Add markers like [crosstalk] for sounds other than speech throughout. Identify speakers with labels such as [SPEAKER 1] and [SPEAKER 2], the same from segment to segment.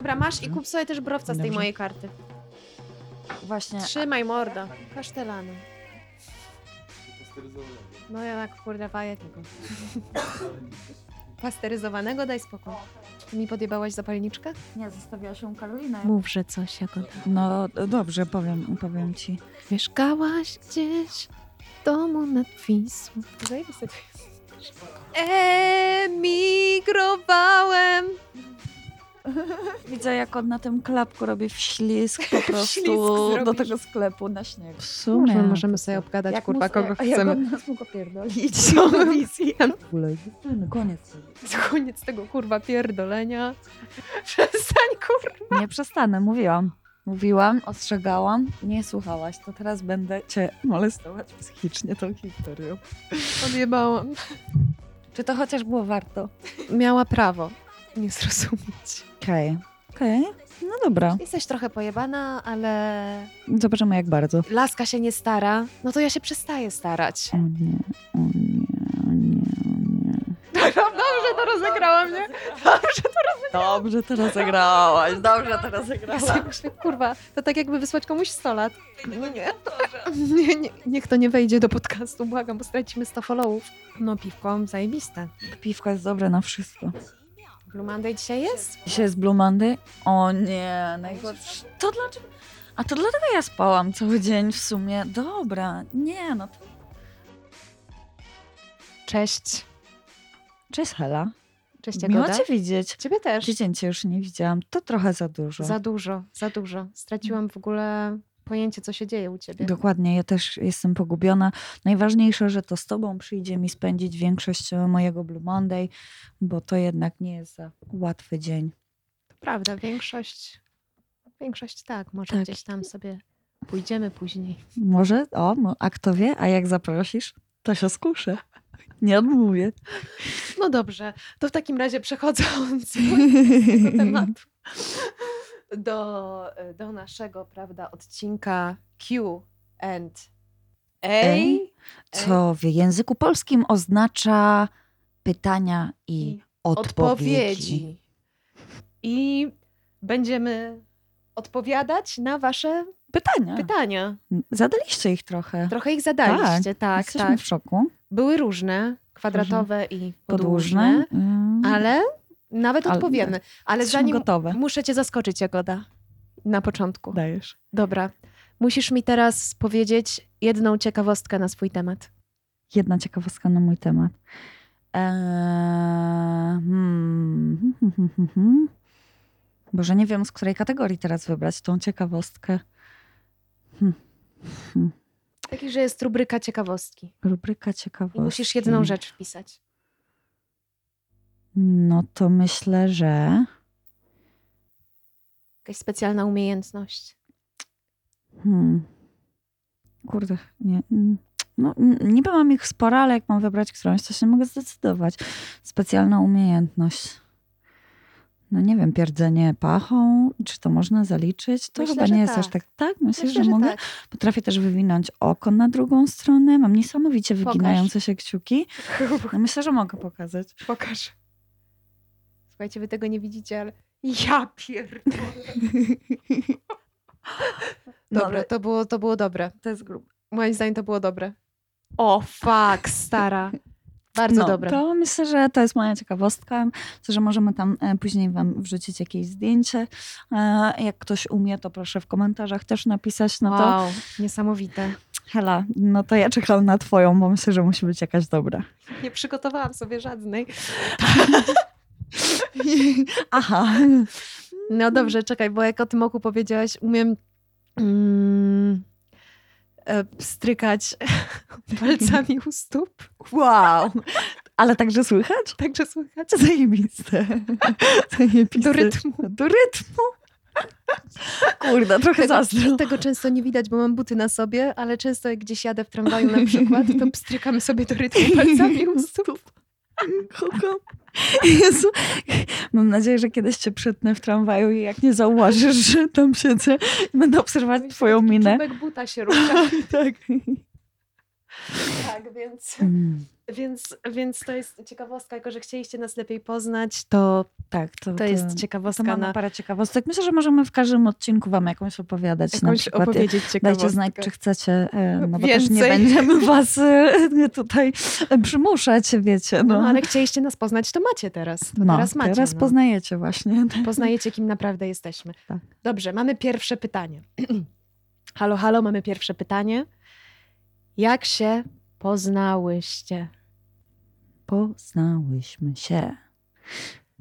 [SPEAKER 1] Dobra, masz i kup sobie też browca z tej
[SPEAKER 2] Dobrze.
[SPEAKER 1] mojej karty.
[SPEAKER 2] Właśnie.
[SPEAKER 1] Trzymaj mordo. Kasztelany. No ja tak kurde waję tego. Pasteryzowanego daj spokój. Ty mi podjebałaś zapalniczkę?
[SPEAKER 2] Nie, zostawiła się u Karoliny.
[SPEAKER 1] Mów, że coś Jagoda.
[SPEAKER 2] No dobrze, powiem, powiem ci.
[SPEAKER 1] Mieszkałaś gdzieś w domu nad Wisłą. Zajebiste to jest. Emigrowałem.
[SPEAKER 2] Widzę, jak on na tym klapku robi [laughs] wślizg po prostu
[SPEAKER 1] zrobisz.
[SPEAKER 2] do tego sklepu na śnieg. W sumie.
[SPEAKER 1] Może możemy sobie obgadać, kurwa, kogo
[SPEAKER 2] Jak
[SPEAKER 1] chcemy.
[SPEAKER 2] on nas mógł opierdolić.
[SPEAKER 1] Idź.
[SPEAKER 2] Koniec.
[SPEAKER 1] Koniec tego, kurwa, pierdolenia. Przestań, kurwa.
[SPEAKER 2] Nie przestanę, mówiłam. Mówiłam, ostrzegałam, nie słuchałaś, to teraz będę cię molestować psychicznie tą historią.
[SPEAKER 1] Odjebałam.
[SPEAKER 2] Czy to chociaż było warto?
[SPEAKER 1] Miała prawo nie zrozumieć.
[SPEAKER 2] Okej. Okej, no dobra.
[SPEAKER 1] Jesteś trochę pojebana, ale
[SPEAKER 2] Zobaczymy jak bardzo.
[SPEAKER 1] laska się nie stara, no to ja się przestaję starać.
[SPEAKER 2] O nie, o nie, o nie, o nie.
[SPEAKER 1] Dobrze to rozegrałam, nie?
[SPEAKER 2] Dobrze to rozegrałaś, dobrze to
[SPEAKER 1] Ja
[SPEAKER 2] rozegrałaś.
[SPEAKER 1] sobie myślę, kurwa, to tak jakby wysłać komuś 100 lat. No nie. [laughs] nie, nie. Niech to nie wejdzie do podcastu, błagam, bo stracimy 100 followów. No piwko, zajebiste.
[SPEAKER 2] [laughs] Piwko jest dobre na wszystko.
[SPEAKER 1] Blue Monday dzisiaj jest?
[SPEAKER 2] Dzisiaj jest Blue Monday? O nie, najgorsze. To dlaczego? A to dlatego ja spałam cały dzień w sumie. Dobra, nie no. To...
[SPEAKER 1] Cześć.
[SPEAKER 2] Cześć Hela.
[SPEAKER 1] Cześć,
[SPEAKER 2] Miło
[SPEAKER 1] Jagoda.
[SPEAKER 2] Cię widzieć.
[SPEAKER 1] Ciebie też.
[SPEAKER 2] Tydzień Cię już nie widziałam, to trochę za dużo.
[SPEAKER 1] Za dużo, za dużo. Straciłam w ogóle pojęcie, co się dzieje u ciebie.
[SPEAKER 2] Dokładnie, ja też jestem pogubiona. Najważniejsze, że to z Tobą przyjdzie mi spędzić większość e, mojego Blue Monday, bo to jednak nie jest za łatwy dzień.
[SPEAKER 1] To prawda, większość, większość tak, może
[SPEAKER 2] Tak.
[SPEAKER 1] gdzieś tam sobie pójdziemy później.
[SPEAKER 2] Może, o, mo- a kto wie, a jak zaprosisz, to się skuszę.
[SPEAKER 1] [laughs]
[SPEAKER 2] Nie odmówię.
[SPEAKER 1] No dobrze, to w takim razie przechodząc do tematu, do, do naszego, prawda, odcinka Q and A. E
[SPEAKER 2] Ej. Co w języku polskim oznacza pytania i
[SPEAKER 1] I
[SPEAKER 2] odpowiedzi.
[SPEAKER 1] Odpowiedzi. I będziemy odpowiadać na wasze
[SPEAKER 2] Pytania.
[SPEAKER 1] pytania.
[SPEAKER 2] Zadaliście ich trochę.
[SPEAKER 1] Trochę ich zadaliście, tak,
[SPEAKER 2] Jesteśmy
[SPEAKER 1] tak.
[SPEAKER 2] w szoku.
[SPEAKER 1] Były różne, kwadratowe i podłużne.
[SPEAKER 2] Podłużne. Mm.
[SPEAKER 1] Ale nawet
[SPEAKER 2] Ale-
[SPEAKER 1] odpowiemy. Ale
[SPEAKER 2] Jesteśmy
[SPEAKER 1] zanim
[SPEAKER 2] gotowe. Tak.
[SPEAKER 1] muszę cię zaskoczyć, Jagoda. Na początku.
[SPEAKER 2] Dajesz.
[SPEAKER 1] Dobra. Musisz mi teraz powiedzieć jedną ciekawostkę na swój temat.
[SPEAKER 2] jedna ciekawostka na mój temat. Eee, hmm. [laughs] Boże, nie wiem, z której kategorii teraz wybrać tą ciekawostkę.
[SPEAKER 1] Taki, że jest rubryka ciekawostki.
[SPEAKER 2] Rubryka
[SPEAKER 1] I
[SPEAKER 2] ciekawostki.
[SPEAKER 1] musisz jedną rzecz wpisać.
[SPEAKER 2] No to myślę, że...
[SPEAKER 1] Jakaś specjalna umiejętność.
[SPEAKER 2] Hmm. Kurde, nie. mm, No, n- niby mam ich sporo, ale jak mam wybrać którąś, to się nie mogę zdecydować. Specjalna umiejętność. No nie wiem, pierdzenie pachą, czy to można zaliczyć? To
[SPEAKER 1] Myślę,
[SPEAKER 2] chyba
[SPEAKER 1] że
[SPEAKER 2] nie jest
[SPEAKER 1] tak.
[SPEAKER 2] aż tak. Tak, myślisz, że mogę?
[SPEAKER 1] tak. [laughs]
[SPEAKER 2] Potrafię też wywinąć oko na drugą stronę. Mam niesamowicie
[SPEAKER 1] Pokaż.
[SPEAKER 2] wyginające się kciuki. No myślę, że mogę pokazać.
[SPEAKER 1] Pokaż. Słuchajcie, wy tego nie widzicie, ale ja pier...
[SPEAKER 2] No,
[SPEAKER 1] Dobra,
[SPEAKER 2] ale
[SPEAKER 1] to było, to było dobre.
[SPEAKER 2] to jest grube.
[SPEAKER 1] Moim zdaniem to było dobre. O, fuck, stara. Bardzo
[SPEAKER 2] no,
[SPEAKER 1] dobre.
[SPEAKER 2] To myślę, że to jest moja ciekawostka. Myślę, że możemy tam e, później wam wrzucić jakieś zdjęcie. E, Jak ktoś umie, to proszę w komentarzach też napisać. No to
[SPEAKER 1] Wow, niesamowite.
[SPEAKER 2] Hela, no to ja czekam na twoją, bo myślę, że musi być jakaś dobra.
[SPEAKER 1] Nie przygotowałam sobie [laughs] żadnej.
[SPEAKER 2] Aha. [laughs]
[SPEAKER 1] No dobrze, czekaj, bo jak o tym oku powiedziałaś, umiem mm, e, strykać [laughs] palcami u stóp,
[SPEAKER 2] Wow. Ale także słychać?
[SPEAKER 1] także słychać
[SPEAKER 2] Zajebiste. [laughs] Zajebiste.
[SPEAKER 1] do rytmu.
[SPEAKER 2] Do rytmu. Kurde, trochę
[SPEAKER 1] Tego,
[SPEAKER 2] zazdro.
[SPEAKER 1] tego często nie widać, bo mam buty na sobie, ale często jak gdzieś jadę w tramwaju na przykład, [laughs] to pstrykam sobie do rytmu palcami u stóp.
[SPEAKER 2] Kocham. Jezu. Mam nadzieję, że kiedyś cię przetnę w tramwaju i jak nie zauważysz, że tam siedzę, będę obserwować twoją minę. [laughs]
[SPEAKER 1] Czubek buta się rusza.
[SPEAKER 2] Tak.
[SPEAKER 1] Tak, więc...
[SPEAKER 2] Mm.
[SPEAKER 1] Więc, więc to jest ciekawostka, jako że chcieliście nas lepiej poznać, to
[SPEAKER 2] Tak, to,
[SPEAKER 1] to jest ciekawostka
[SPEAKER 2] to mamy
[SPEAKER 1] na
[SPEAKER 2] parę ciekawostek. Myślę, że możemy w każdym odcinku wam jakąś opowiadać. na
[SPEAKER 1] jakąś
[SPEAKER 2] przykład,
[SPEAKER 1] opowiedzieć
[SPEAKER 2] Dajcie
[SPEAKER 1] ciekawostkę.
[SPEAKER 2] znać, czy chcecie, e, no bo też nie
[SPEAKER 1] Więcej.
[SPEAKER 2] będziemy was e, tutaj przymuszać, wiecie. No,
[SPEAKER 1] No, ale chcieliście nas poznać, to macie teraz. To
[SPEAKER 2] No,
[SPEAKER 1] teraz macie.
[SPEAKER 2] teraz
[SPEAKER 1] no.
[SPEAKER 2] [laughs] poznajecie właśnie.
[SPEAKER 1] Poznajecie, kim naprawdę jesteśmy.
[SPEAKER 2] Tak.
[SPEAKER 1] Dobrze, mamy pierwsze pytanie. [clears throat] halo, halo, mamy pierwsze pytanie. Jak się poznałyście?
[SPEAKER 2] Poznałyśmy się.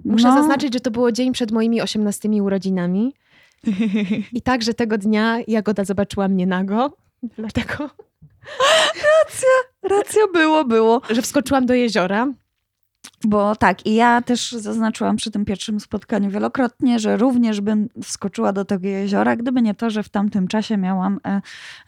[SPEAKER 1] Muszę
[SPEAKER 2] No.
[SPEAKER 1] zaznaczyć, że to było dzień przed moimi 18 urodzinami. I także tego dnia Jagoda zobaczyła mnie
[SPEAKER 2] [laughs]
[SPEAKER 1] nago, dlatego,
[SPEAKER 2] Racja było, było.
[SPEAKER 1] że wskoczyłam do jeziora.
[SPEAKER 2] Bo tak, i ja też zaznaczyłam przy tym pierwszym spotkaniu wielokrotnie, że również bym wskoczyła do tego jeziora, gdyby nie to, że w tamtym czasie miałam e,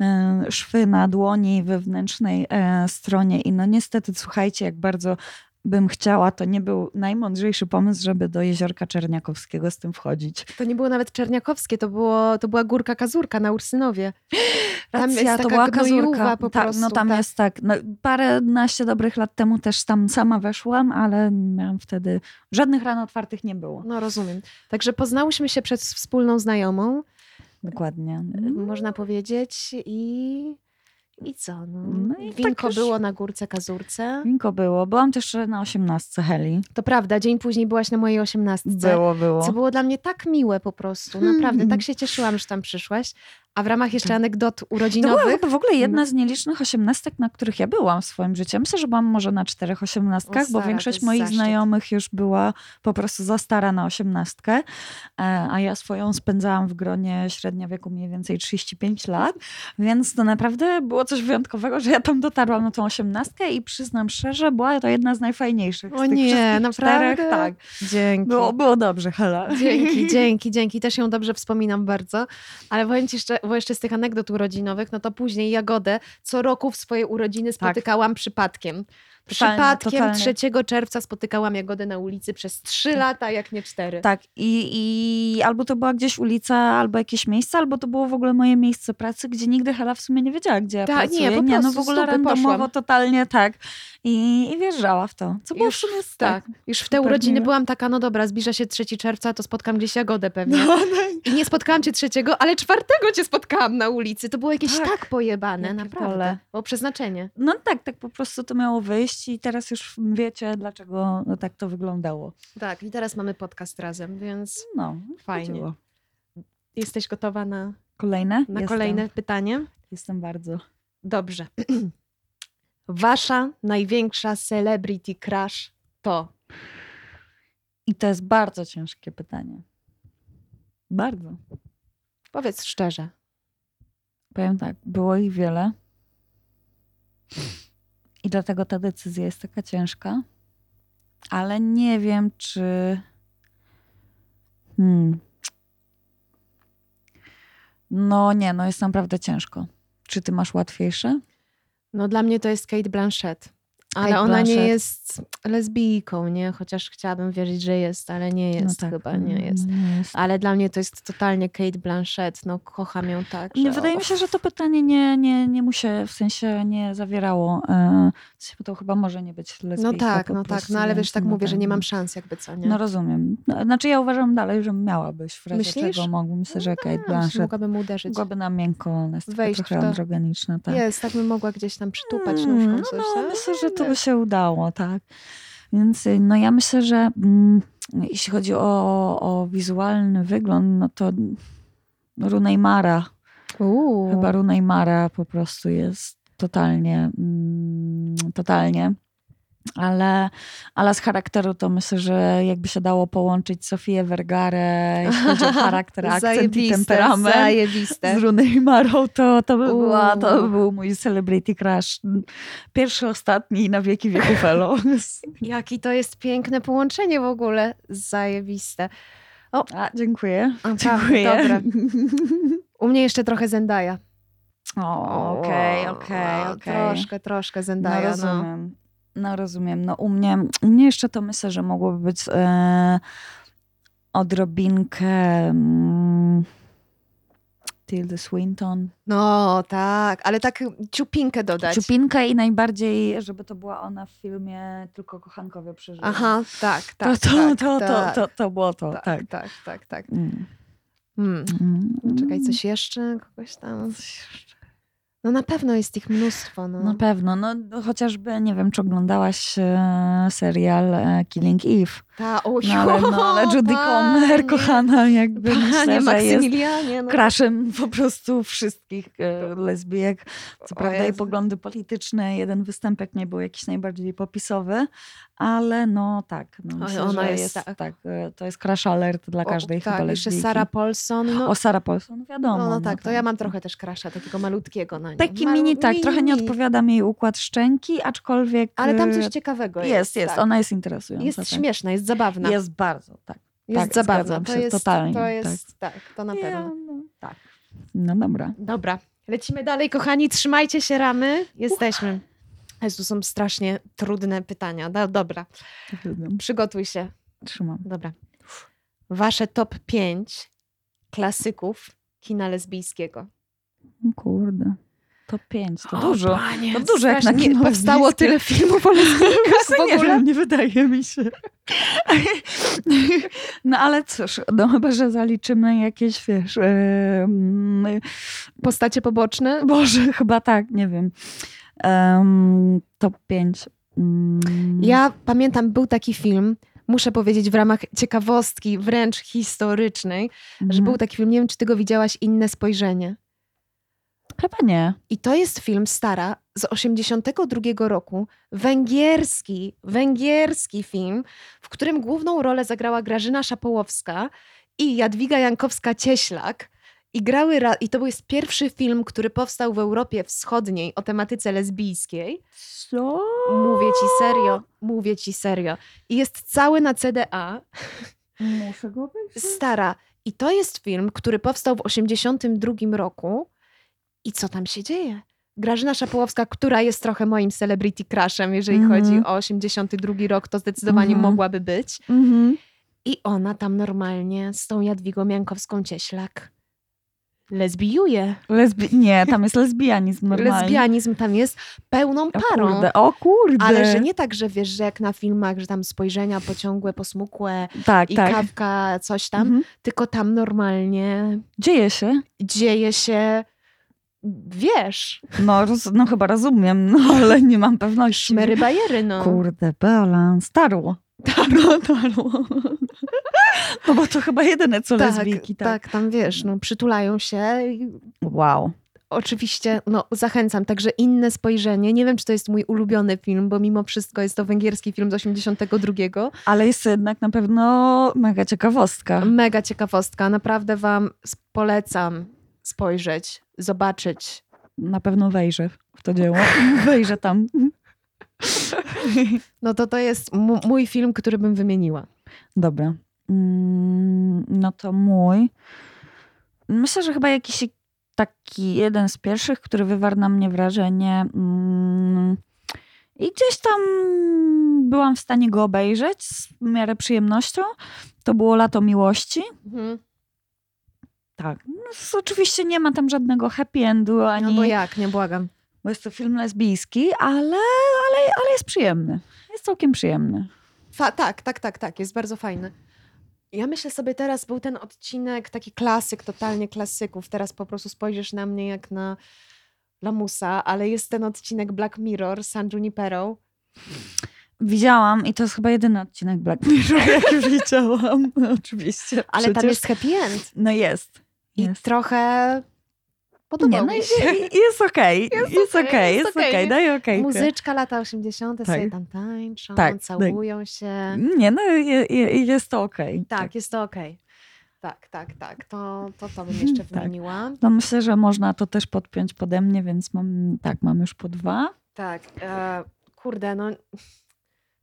[SPEAKER 2] e, szwy na dłoni wewnętrznej e, stronie. I no niestety, słuchajcie, jak bardzo bym chciała, to nie był najmądrzejszy pomysł, żeby do jeziorka Czerniakowskiego z tym wchodzić.
[SPEAKER 1] To nie było nawet Czerniakowskie, to, było, to była górka Kazurka na Ursynowie. Tam
[SPEAKER 2] Racja,
[SPEAKER 1] jest taka
[SPEAKER 2] to była
[SPEAKER 1] gnojuwa
[SPEAKER 2] kazurka.
[SPEAKER 1] po prostu,
[SPEAKER 2] no tam
[SPEAKER 1] tak.
[SPEAKER 2] jest tak. No, paręnaście dobrych lat temu też tam sama weszłam, ale miałam wtedy żadnych ran otwartych nie było.
[SPEAKER 1] No rozumiem. Także poznałyśmy się przez wspólną znajomą,
[SPEAKER 2] Dokładnie.
[SPEAKER 1] można powiedzieć, i, i co? No.
[SPEAKER 2] No i tak
[SPEAKER 1] Winko
[SPEAKER 2] już-
[SPEAKER 1] było na górce Kazurce.
[SPEAKER 2] Winko było. Byłam też e, na osiemnastce Heli.
[SPEAKER 1] To prawda, dzień później byłaś na mojej osiemnastce.
[SPEAKER 2] Było, było.
[SPEAKER 1] Co było dla mnie tak miłe po prostu, naprawdę. Tak się cieszyłam, że tam przyszłaś. A w ramach jeszcze anegdot
[SPEAKER 2] Tak. To była
[SPEAKER 1] urodzinowych,
[SPEAKER 2] chyba w ogóle
[SPEAKER 1] No.
[SPEAKER 2] jedna z nielicznych osiemnastek, na których ja byłam w swoim życiu. Myślę, że byłam może na
[SPEAKER 1] O,
[SPEAKER 2] czterech osiemnastkach,
[SPEAKER 1] Sara,
[SPEAKER 2] bo
[SPEAKER 1] to
[SPEAKER 2] większość
[SPEAKER 1] jest
[SPEAKER 2] moich
[SPEAKER 1] zaszczyt.
[SPEAKER 2] znajomych już była po prostu za stara na osiemnastkę, e, a ja swoją spędzałam w gronie średnia wieku mniej więcej 35 lat, więc to naprawdę było coś wyjątkowego, że ja tam dotarłam na tą osiemnastkę i przyznam szczerze, była to jedna z najfajniejszych
[SPEAKER 1] O
[SPEAKER 2] z tych
[SPEAKER 1] nie,
[SPEAKER 2] wszystkich
[SPEAKER 1] naprawdę?
[SPEAKER 2] czterech. Tak,
[SPEAKER 1] dzięki.
[SPEAKER 2] było, było dobrze, Hela. [laughs]
[SPEAKER 1] Dzięki, dzięki, dzięki. Też ją dobrze wspominam bardzo. Ale powiem ci jeszcze, bo jeszcze z tych anegdot urodzinowych, no to później Jagodę co roku w swoje urodziny spotykałam przypadkiem. Przypadkiem
[SPEAKER 2] Tak. totalnie.
[SPEAKER 1] 3 czerwca spotykałam Jagodę na ulicy przez 3 lata, jak nie 4.
[SPEAKER 2] Tak, i, i albo to była gdzieś ulica, albo jakieś miejsce, albo to było w ogóle moje miejsce pracy, gdzie nigdy Hela w sumie nie wiedziała, gdzie ja
[SPEAKER 1] Ta, nie,
[SPEAKER 2] pracuję.
[SPEAKER 1] po
[SPEAKER 2] no w
[SPEAKER 1] prostu
[SPEAKER 2] ogóle
[SPEAKER 1] stopy
[SPEAKER 2] randomowo
[SPEAKER 1] poszłam.
[SPEAKER 2] totalnie tak. I, i wjeżdżała w to. Co było
[SPEAKER 1] Już
[SPEAKER 2] w sumie z-
[SPEAKER 1] Tak, już w te
[SPEAKER 2] super
[SPEAKER 1] urodziny
[SPEAKER 2] miłe.
[SPEAKER 1] byłam taka, no dobra, zbliża się 3 czerwca, to spotkam gdzieś Jagodę pewnie.
[SPEAKER 2] No, no i-
[SPEAKER 1] I nie spotkałam cię trzeciego, ale czwartego cię spotkałam na ulicy. To było jakieś tak,
[SPEAKER 2] Tak.
[SPEAKER 1] pojebane,
[SPEAKER 2] Ja
[SPEAKER 1] naprawdę.
[SPEAKER 2] pierdolę.
[SPEAKER 1] O przeznaczenie.
[SPEAKER 2] no tak, tak po prostu to miało wyjść i teraz już wiecie, dlaczego tak to wyglądało.
[SPEAKER 1] Tak, i teraz mamy podcast razem, więc
[SPEAKER 2] No,
[SPEAKER 1] Fajnie.
[SPEAKER 2] chodziło.
[SPEAKER 1] jesteś gotowa na,
[SPEAKER 2] Kolejne?
[SPEAKER 1] na
[SPEAKER 2] Jestem.
[SPEAKER 1] kolejne pytanie?
[SPEAKER 2] Jestem bardzo.
[SPEAKER 1] Dobrze. [clears throat] Wasza największa celebrity crush to.
[SPEAKER 2] I to jest bardzo ciężkie pytanie. Bardzo.
[SPEAKER 1] Powiedz szczerze.
[SPEAKER 2] Powiem tak, było ich wiele. I dlatego ta decyzja jest taka ciężka. Ale nie wiem, czy. Hmm. No nie, no jest naprawdę ciężko. Czy ty masz łatwiejsze?
[SPEAKER 1] No dla mnie to jest Kate Blanchett. Ale
[SPEAKER 2] Kate
[SPEAKER 1] ona nie
[SPEAKER 2] Blanchett.
[SPEAKER 1] jest lesbijką, nie? Chociaż chciałabym wierzyć, że jest, ale nie jest.
[SPEAKER 2] no tak,
[SPEAKER 1] Chyba nie
[SPEAKER 2] mm,
[SPEAKER 1] jest.
[SPEAKER 2] nie jest.
[SPEAKER 1] Ale dla mnie to jest totalnie Kate Blanchett. No kocham ją tak.
[SPEAKER 2] Nie,
[SPEAKER 1] że-
[SPEAKER 2] wydaje mi się, że to pytanie nie, nie, nie mu się, w sensie nie zawierało. E, w sensie, bo to chyba może nie być lesbijka
[SPEAKER 1] No tak,
[SPEAKER 2] po
[SPEAKER 1] no tak.
[SPEAKER 2] prostu,
[SPEAKER 1] No ale
[SPEAKER 2] więc
[SPEAKER 1] wiesz, tak
[SPEAKER 2] no
[SPEAKER 1] mówię, że nie
[SPEAKER 2] no.
[SPEAKER 1] mam szans jakby co, nie?
[SPEAKER 2] No rozumiem. No, Znaczy ja uważam dalej, że miałabyś w razie
[SPEAKER 1] Myślisz?
[SPEAKER 2] czego mogłabym
[SPEAKER 1] No
[SPEAKER 2] sobie rzekać
[SPEAKER 1] A, że
[SPEAKER 2] Blanchett.
[SPEAKER 1] Mogłabym uderzyć.
[SPEAKER 2] Mogłaby na miękko, ona jest
[SPEAKER 1] Wejść
[SPEAKER 2] Wejść
[SPEAKER 1] w
[SPEAKER 2] trochę
[SPEAKER 1] to.
[SPEAKER 2] androgeniczna. Tak.
[SPEAKER 1] Jest, tak bym mogła gdzieś tam przytupać
[SPEAKER 2] Mm,
[SPEAKER 1] nóżką
[SPEAKER 2] no,
[SPEAKER 1] coś.
[SPEAKER 2] no,
[SPEAKER 1] ale
[SPEAKER 2] myślę, że to
[SPEAKER 1] nie.
[SPEAKER 2] by się udało, tak. Więc y, no ja myślę, że mm, jeśli chodzi o, o wizualny wygląd, no to Runejmara,
[SPEAKER 1] Uuu.
[SPEAKER 2] chyba Runejmara po prostu jest totalnie, mm, totalnie. Ale, ale z charakteru to myślę, że jakby się dało połączyć Sofię Vergara, jeśli
[SPEAKER 1] [laughs]
[SPEAKER 2] chodzi o charakter, akcent i temperament
[SPEAKER 1] Zajebiste.
[SPEAKER 2] z Runej Marą, to, to, by
[SPEAKER 1] Uuu.
[SPEAKER 2] była, to by był mój celebrity crush. Pierwszy, ostatni i na
[SPEAKER 1] [laughs]
[SPEAKER 2] wieki wieków elo.
[SPEAKER 1] Jaki to jest piękne połączenie w ogóle.
[SPEAKER 2] [laughs]
[SPEAKER 1] Zajebiste.
[SPEAKER 2] A, dziękuję.
[SPEAKER 1] A, tak,
[SPEAKER 2] Dziękuję.
[SPEAKER 1] dobra. U mnie jeszcze trochę Zendaya.
[SPEAKER 2] [laughs] O, Okej, okej,
[SPEAKER 1] O,
[SPEAKER 2] okej.
[SPEAKER 1] Troszkę, troszkę
[SPEAKER 2] No
[SPEAKER 1] Zendaya. No,
[SPEAKER 2] rozumiem. No rozumiem. No u mnie, u mnie jeszcze to myślę, że mogłoby być e, odrobinkę mm, Tildy Swinton.
[SPEAKER 1] No tak, ale tak ciupinkę dodać.
[SPEAKER 2] Ciupinkę i najbardziej, żeby to była ona w filmie Tylko kochankowie przeżyją.
[SPEAKER 1] Aha, tak, tak.
[SPEAKER 2] No to, to,
[SPEAKER 1] tak,
[SPEAKER 2] to,
[SPEAKER 1] tak,
[SPEAKER 2] To, to, to było to, tak.
[SPEAKER 1] tak, tak, tak, tak.
[SPEAKER 2] Mm.
[SPEAKER 1] Mm.
[SPEAKER 2] Mm.
[SPEAKER 1] Czekaj, coś jeszcze? Kogoś tam? No na pewno jest ich mnóstwo. No.
[SPEAKER 2] Na pewno, no chociażby, nie wiem, czy oglądałaś e, serial e, Killing Eve.
[SPEAKER 1] Ta, o,
[SPEAKER 2] No, ale, no, ale
[SPEAKER 1] [laughs]
[SPEAKER 2] Judy Comer, kochana, jakby
[SPEAKER 1] Panie
[SPEAKER 2] myślę, że jest
[SPEAKER 1] Maksymilianie. No.
[SPEAKER 2] kraszem po prostu wszystkich e, lesbijek. Co
[SPEAKER 1] O
[SPEAKER 2] prawda i
[SPEAKER 1] Jezu.
[SPEAKER 2] poglądy polityczne, jeden występek nie był jakiś najbardziej popisowy, ale no tak, no,
[SPEAKER 1] Ale
[SPEAKER 2] myślę,
[SPEAKER 1] ona
[SPEAKER 2] że
[SPEAKER 1] jest
[SPEAKER 2] jest
[SPEAKER 1] tak.
[SPEAKER 2] tak. e, to jest crash alert dla
[SPEAKER 1] O,
[SPEAKER 2] każdej
[SPEAKER 1] tak,
[SPEAKER 2] chyba
[SPEAKER 1] jeszcze
[SPEAKER 2] lesbijki.
[SPEAKER 1] Sara Paulson. No,
[SPEAKER 2] O Sara Paulson, wiadomo.
[SPEAKER 1] no, no tak, to ja mam trochę też krasza, takiego malutkiego no na nim.
[SPEAKER 2] Taki
[SPEAKER 1] Malu-
[SPEAKER 2] mini, tak, trochę nie
[SPEAKER 1] mini.
[SPEAKER 2] odpowiada mi jej układ szczęki, aczkolwiek...
[SPEAKER 1] Ale tam
[SPEAKER 2] e,
[SPEAKER 1] coś ciekawego jest.
[SPEAKER 2] Jest, jest.
[SPEAKER 1] tak.
[SPEAKER 2] Ona jest interesująca.
[SPEAKER 1] Jest
[SPEAKER 2] tak.
[SPEAKER 1] śmieszna, jest zabawna. Jest,
[SPEAKER 2] Jest bardzo, tak. tak,
[SPEAKER 1] za
[SPEAKER 2] zgadzam
[SPEAKER 1] bardzo. To
[SPEAKER 2] się,
[SPEAKER 1] jest,
[SPEAKER 2] totalnie,
[SPEAKER 1] to
[SPEAKER 2] tak.
[SPEAKER 1] jest, tak. to na pewno.
[SPEAKER 2] Ja, no, tak. No dobra.
[SPEAKER 1] Dobra, lecimy dalej, kochani. Trzymajcie się ramy. Jesteśmy. Jezu, są strasznie trudne pytania. No, dobra,
[SPEAKER 2] Uwielbiam.
[SPEAKER 1] przygotuj się.
[SPEAKER 2] Trzymam.
[SPEAKER 1] Dobra. Wasze top 5 klasyków kina lesbijskiego.
[SPEAKER 2] No Kurde. To pięć, to
[SPEAKER 1] O,
[SPEAKER 2] dużo.
[SPEAKER 1] Panie,
[SPEAKER 2] To dużo jak na
[SPEAKER 1] strasznie.
[SPEAKER 2] kino
[SPEAKER 1] Powstało
[SPEAKER 2] lesbijskie.
[SPEAKER 1] tyle filmów
[SPEAKER 2] [laughs]
[SPEAKER 1] o lesbijkach w
[SPEAKER 2] Nie
[SPEAKER 1] ogóle.
[SPEAKER 2] wiem, nie wydaje mi się. [laughs] No ale cóż, no chyba, że zaliczymy jakieś, wiesz, em,
[SPEAKER 1] Postacie poboczne.
[SPEAKER 2] Boże, chyba tak, nie wiem. Em, top pięć. Mm,
[SPEAKER 1] Ja pamiętam, był taki film, muszę powiedzieć, w ramach ciekawostki wręcz historycznej, że
[SPEAKER 2] mhm.
[SPEAKER 1] był taki film, nie wiem, czy ty go widziałaś, Inne spojrzenie.
[SPEAKER 2] Chyba nie.
[SPEAKER 1] I to jest film Stara z 82 roku, węgierski, węgierski film, w którym główną rolę zagrała Grażyna Szapołowska i Jadwiga Jankowska-Cieślak. I, grały ra- I to był jest pierwszy film, który powstał w Europie Wschodniej o tematyce lesbijskiej.
[SPEAKER 2] Co?
[SPEAKER 1] Mówię ci serio, mówię ci serio. I jest cały na CDA,
[SPEAKER 2] Muszę go obejrzeć.
[SPEAKER 1] Stara. I to jest film, który powstał w 82 roku. I co tam się dzieje? Grażyna Szapołowska, która jest trochę moim celebrity crushem, jeżeli
[SPEAKER 2] Mhm.
[SPEAKER 1] chodzi o 82 rok, to zdecydowanie
[SPEAKER 2] Mhm.
[SPEAKER 1] mogłaby być.
[SPEAKER 2] Mhm.
[SPEAKER 1] I ona tam normalnie z tą Jadwigą Jankowską-Cieślak lesbijuje.
[SPEAKER 2] Lesbi- nie, tam jest lesbianizm normalnie.
[SPEAKER 1] Lesbianizm tam jest pełną
[SPEAKER 2] O
[SPEAKER 1] parą.
[SPEAKER 2] kurde, o kurde.
[SPEAKER 1] Ale że nie tak, że wiesz, że jak na filmach, że tam spojrzenia pociągłe, posmukłe
[SPEAKER 2] Tak,
[SPEAKER 1] i
[SPEAKER 2] tak.
[SPEAKER 1] kawka, coś tam,
[SPEAKER 2] Mhm.
[SPEAKER 1] tylko tam normalnie
[SPEAKER 2] Dzieje się.
[SPEAKER 1] dzieje się, wiesz,
[SPEAKER 2] No, roz- no chyba rozumiem, no [laughs] ale nie mam pewności.
[SPEAKER 1] szmery bajery, no.
[SPEAKER 2] Kurde, balans. Tarło. [laughs] Tarło, tarło. No bo to chyba jedyne co
[SPEAKER 1] tak,
[SPEAKER 2] lesbijki, tak.
[SPEAKER 1] tak, tam wiesz, no, przytulają się. i
[SPEAKER 2] Wow.
[SPEAKER 1] Oczywiście, no, zachęcam. Także inne spojrzenie. Nie wiem, czy to jest mój ulubiony film, bo mimo wszystko jest to węgierski film z 82.
[SPEAKER 2] Ale jest jednak na pewno mega ciekawostka.
[SPEAKER 1] Mega ciekawostka. Naprawdę wam s- polecam spojrzeć, zobaczyć.
[SPEAKER 2] Na pewno wejrzę w to dzieło. [laughs] Wejrzę tam.
[SPEAKER 1] No to to jest mu- mój film, który bym wymieniła.
[SPEAKER 2] Dobra. Mm, No to mój. Myślę, że chyba jakiś taki jeden z pierwszych, który wywarł na mnie wrażenie. mm, I gdzieś tam byłam w stanie go obejrzeć z w miarę przyjemnością. To było Lato Miłości. Mhm. Tak. No, s- oczywiście nie ma tam żadnego happy endu,
[SPEAKER 1] No
[SPEAKER 2] ani,
[SPEAKER 1] bo jak, nie błagam.
[SPEAKER 2] bo jest to film lesbijski, ale, ale, ale jest przyjemny. Jest całkiem przyjemny.
[SPEAKER 1] Fa- tak, tak, tak, tak, jest bardzo fajny. Ja myślę sobie teraz, był ten odcinek, taki klasyk, totalnie klasyków. Teraz po prostu spojrzysz na mnie jak na lamusa, ale jest ten odcinek Black Mirror z San Junipero.
[SPEAKER 2] Widziałam i to jest chyba jedyny odcinek Black Mirror, [laughs] jaki widziałam. [laughs] Oczywiście.
[SPEAKER 1] Ale
[SPEAKER 2] przecież.
[SPEAKER 1] tam jest happy end.
[SPEAKER 2] No jest.
[SPEAKER 1] I
[SPEAKER 2] Jest.
[SPEAKER 1] trochę
[SPEAKER 2] Nie,
[SPEAKER 1] podobał
[SPEAKER 2] no
[SPEAKER 1] mi
[SPEAKER 2] jest,
[SPEAKER 1] się.
[SPEAKER 2] jest okej. Jest
[SPEAKER 1] okej,
[SPEAKER 2] okej,
[SPEAKER 1] jest
[SPEAKER 2] jest
[SPEAKER 1] okej,
[SPEAKER 2] okej.
[SPEAKER 1] nie?
[SPEAKER 2] Daj okej.
[SPEAKER 1] Muzyczka lata 80. sobie tam tańczą,
[SPEAKER 2] Tak, tak.
[SPEAKER 1] całują się.
[SPEAKER 2] Nie, no je, je, jest to okej.
[SPEAKER 1] Tak, jest to okej. Tak, tak, tak. To, to, to bym jeszcze
[SPEAKER 2] Tak.
[SPEAKER 1] wymieniła.
[SPEAKER 2] No myślę, że można to też podpiąć pode mnie, więc mam, tak, mam już po dwa.
[SPEAKER 1] Tak, e, kurde, no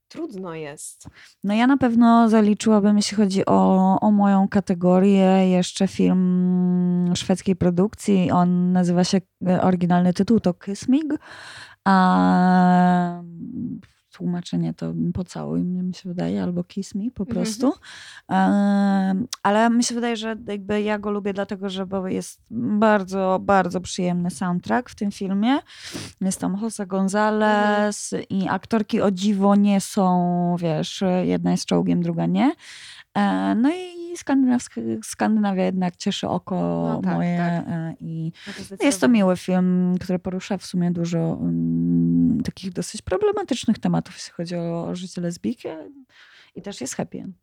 [SPEAKER 1] trudno jest.
[SPEAKER 2] No ja na pewno zaliczyłabym, jeśli chodzi o, o moją kategorię, jeszcze film szwedzkiej produkcji. On nazywa e, się, oryginalny tytuł to Kismig, a tłumaczenie to pocałuj mnie, mi się wydaje, albo kiss me po
[SPEAKER 1] Mhm.
[SPEAKER 2] prostu. Em, ale mi się wydaje, że jakby ja go lubię dlatego, że bo jest bardzo, bardzo przyjemny soundtrack w tym filmie. Jest tam Jose Gonzalez
[SPEAKER 1] Mhm.
[SPEAKER 2] i aktorki o dziwo nie są, wiesz, jedna jest czołgiem, druga nie. E, No i skandynawsk- Skandynawia jednak cieszy oko
[SPEAKER 1] No tak,
[SPEAKER 2] moje
[SPEAKER 1] tak.
[SPEAKER 2] e, i
[SPEAKER 1] zdecydowanie.
[SPEAKER 2] jest to miły film, który porusza w sumie dużo mm, takich dosyć problematycznych tematów, jeśli chodzi o, o życie lesbijki. e, I też jest happy. end.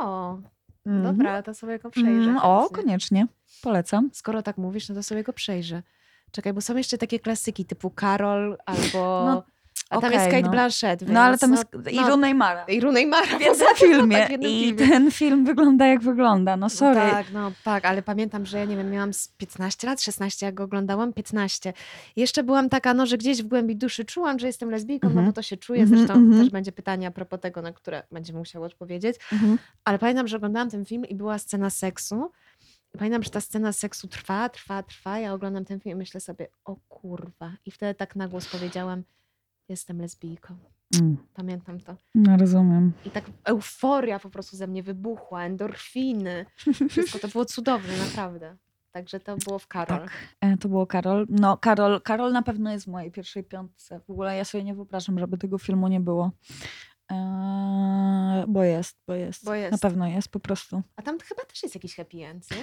[SPEAKER 1] O,
[SPEAKER 2] Mhm.
[SPEAKER 1] dobra, to sobie go przejrzę.
[SPEAKER 2] Mm, o,
[SPEAKER 1] chętnie.
[SPEAKER 2] koniecznie. Polecam.
[SPEAKER 1] Skoro tak mówisz, no to sobie go przejrzę. Czekaj, bo są jeszcze takie klasyki typu Karol albo...
[SPEAKER 2] No,
[SPEAKER 1] a tam
[SPEAKER 2] okej,
[SPEAKER 1] jest Kate
[SPEAKER 2] no.
[SPEAKER 1] Blanchett, więc
[SPEAKER 2] No ale tam jest
[SPEAKER 1] no,
[SPEAKER 2] i Neymara.
[SPEAKER 1] I Rooney Mara.
[SPEAKER 2] [laughs] Więc na filmie.
[SPEAKER 1] [laughs] tak, w jednym
[SPEAKER 2] I
[SPEAKER 1] filmie.
[SPEAKER 2] ten film wygląda jak wygląda. No [laughs] sorry.
[SPEAKER 1] Tak, no tak, ale pamiętam, że ja nie wiem, miałam z 15 lat, 16, jak go oglądałam, 15. Jeszcze byłam taka, no, że gdzieś w głębi duszy czułam, że jestem lesbijką, no
[SPEAKER 2] Mhm.
[SPEAKER 1] bo to się czuje.
[SPEAKER 2] Mhm,
[SPEAKER 1] Zresztą
[SPEAKER 2] mhm.
[SPEAKER 1] też będzie pytanie a propos tego, na które będzie musiał odpowiedzieć.
[SPEAKER 2] Mhm.
[SPEAKER 1] Ale pamiętam, że oglądałam ten film i była scena seksu. I Pamiętam, że ta scena seksu trwa, trwa, trwa. Ja oglądam ten film i myślę sobie, o kurwa. I wtedy tak na głos powiedziałam, jestem lesbijką.
[SPEAKER 2] Mm,
[SPEAKER 1] Pamiętam to.
[SPEAKER 2] No rozumiem.
[SPEAKER 1] I tak euforia po prostu ze mnie wybuchła, endorfiny. Wszystko to było cudowne, naprawdę. Także to było w Karol.
[SPEAKER 2] Tak, e, to było Karol. No, Karol, Karol na pewno jest w mojej pierwszej piątce. W ogóle ja sobie nie wyobrażam, żeby tego filmu nie było. Eee, bo jest, bo jest.
[SPEAKER 1] Bo jest.
[SPEAKER 2] Na pewno jest po prostu.
[SPEAKER 1] A tam chyba też jest jakiś happy end, nie?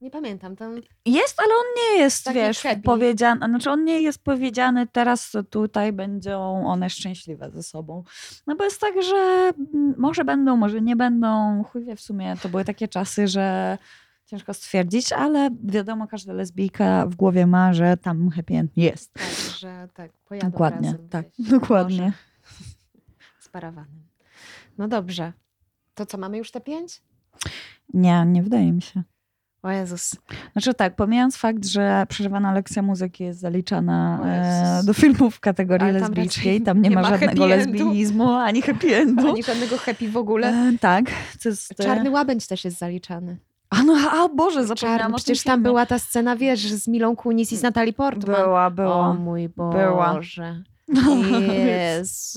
[SPEAKER 1] Nie pamiętam. Tam...
[SPEAKER 2] Jest, ale on nie jest,
[SPEAKER 1] Taki
[SPEAKER 2] wiesz,
[SPEAKER 1] happy.
[SPEAKER 2] powiedziany. Znaczy, on nie jest powiedziany teraz, tutaj będą one szczęśliwe ze sobą. No bo jest tak, że mm, może będą, może nie będą. Chuj wie, w sumie to były takie czasy, że ciężko stwierdzić, ale wiadomo, każda lesbijka w głowie ma, że tam happy end
[SPEAKER 1] [laughs]
[SPEAKER 2] jest.
[SPEAKER 1] Tak, że tak, pojadą
[SPEAKER 2] Dokładnie,
[SPEAKER 1] razem
[SPEAKER 2] tak,
[SPEAKER 1] gdzieś.
[SPEAKER 2] dokładnie.
[SPEAKER 1] Może Z parawanem. No dobrze. To co, mamy już te pięć?
[SPEAKER 2] Nie, nie wydaje mi się.
[SPEAKER 1] O Jezus.
[SPEAKER 2] Znaczy tak, pomijając fakt, że przerwana lekcja muzyki jest zaliczana
[SPEAKER 1] O
[SPEAKER 2] e,
[SPEAKER 1] Jezus.
[SPEAKER 2] do filmów w kategorii
[SPEAKER 1] Ale tam
[SPEAKER 2] lesbijskiej,
[SPEAKER 1] raczej
[SPEAKER 2] tam nie,
[SPEAKER 1] nie
[SPEAKER 2] ma,
[SPEAKER 1] ma
[SPEAKER 2] żadnego
[SPEAKER 1] happy endu.
[SPEAKER 2] lesbijizmu
[SPEAKER 1] [laughs]
[SPEAKER 2] ani happy endu.
[SPEAKER 1] Ani żadnego happy w ogóle.
[SPEAKER 2] E, tak, co jest... e,
[SPEAKER 1] Czarny łabędź też jest zaliczany.
[SPEAKER 2] A no, a Boże, zapomniałam o
[SPEAKER 1] Czarny,
[SPEAKER 2] tym
[SPEAKER 1] przecież tam
[SPEAKER 2] filmie.
[SPEAKER 1] była ta scena, wiesz, z Milą Kunis i z Natalii Portman.
[SPEAKER 2] Była,
[SPEAKER 1] O
[SPEAKER 2] była.
[SPEAKER 1] mój
[SPEAKER 2] Była. [laughs]
[SPEAKER 1] Boże.
[SPEAKER 2] No, Więc-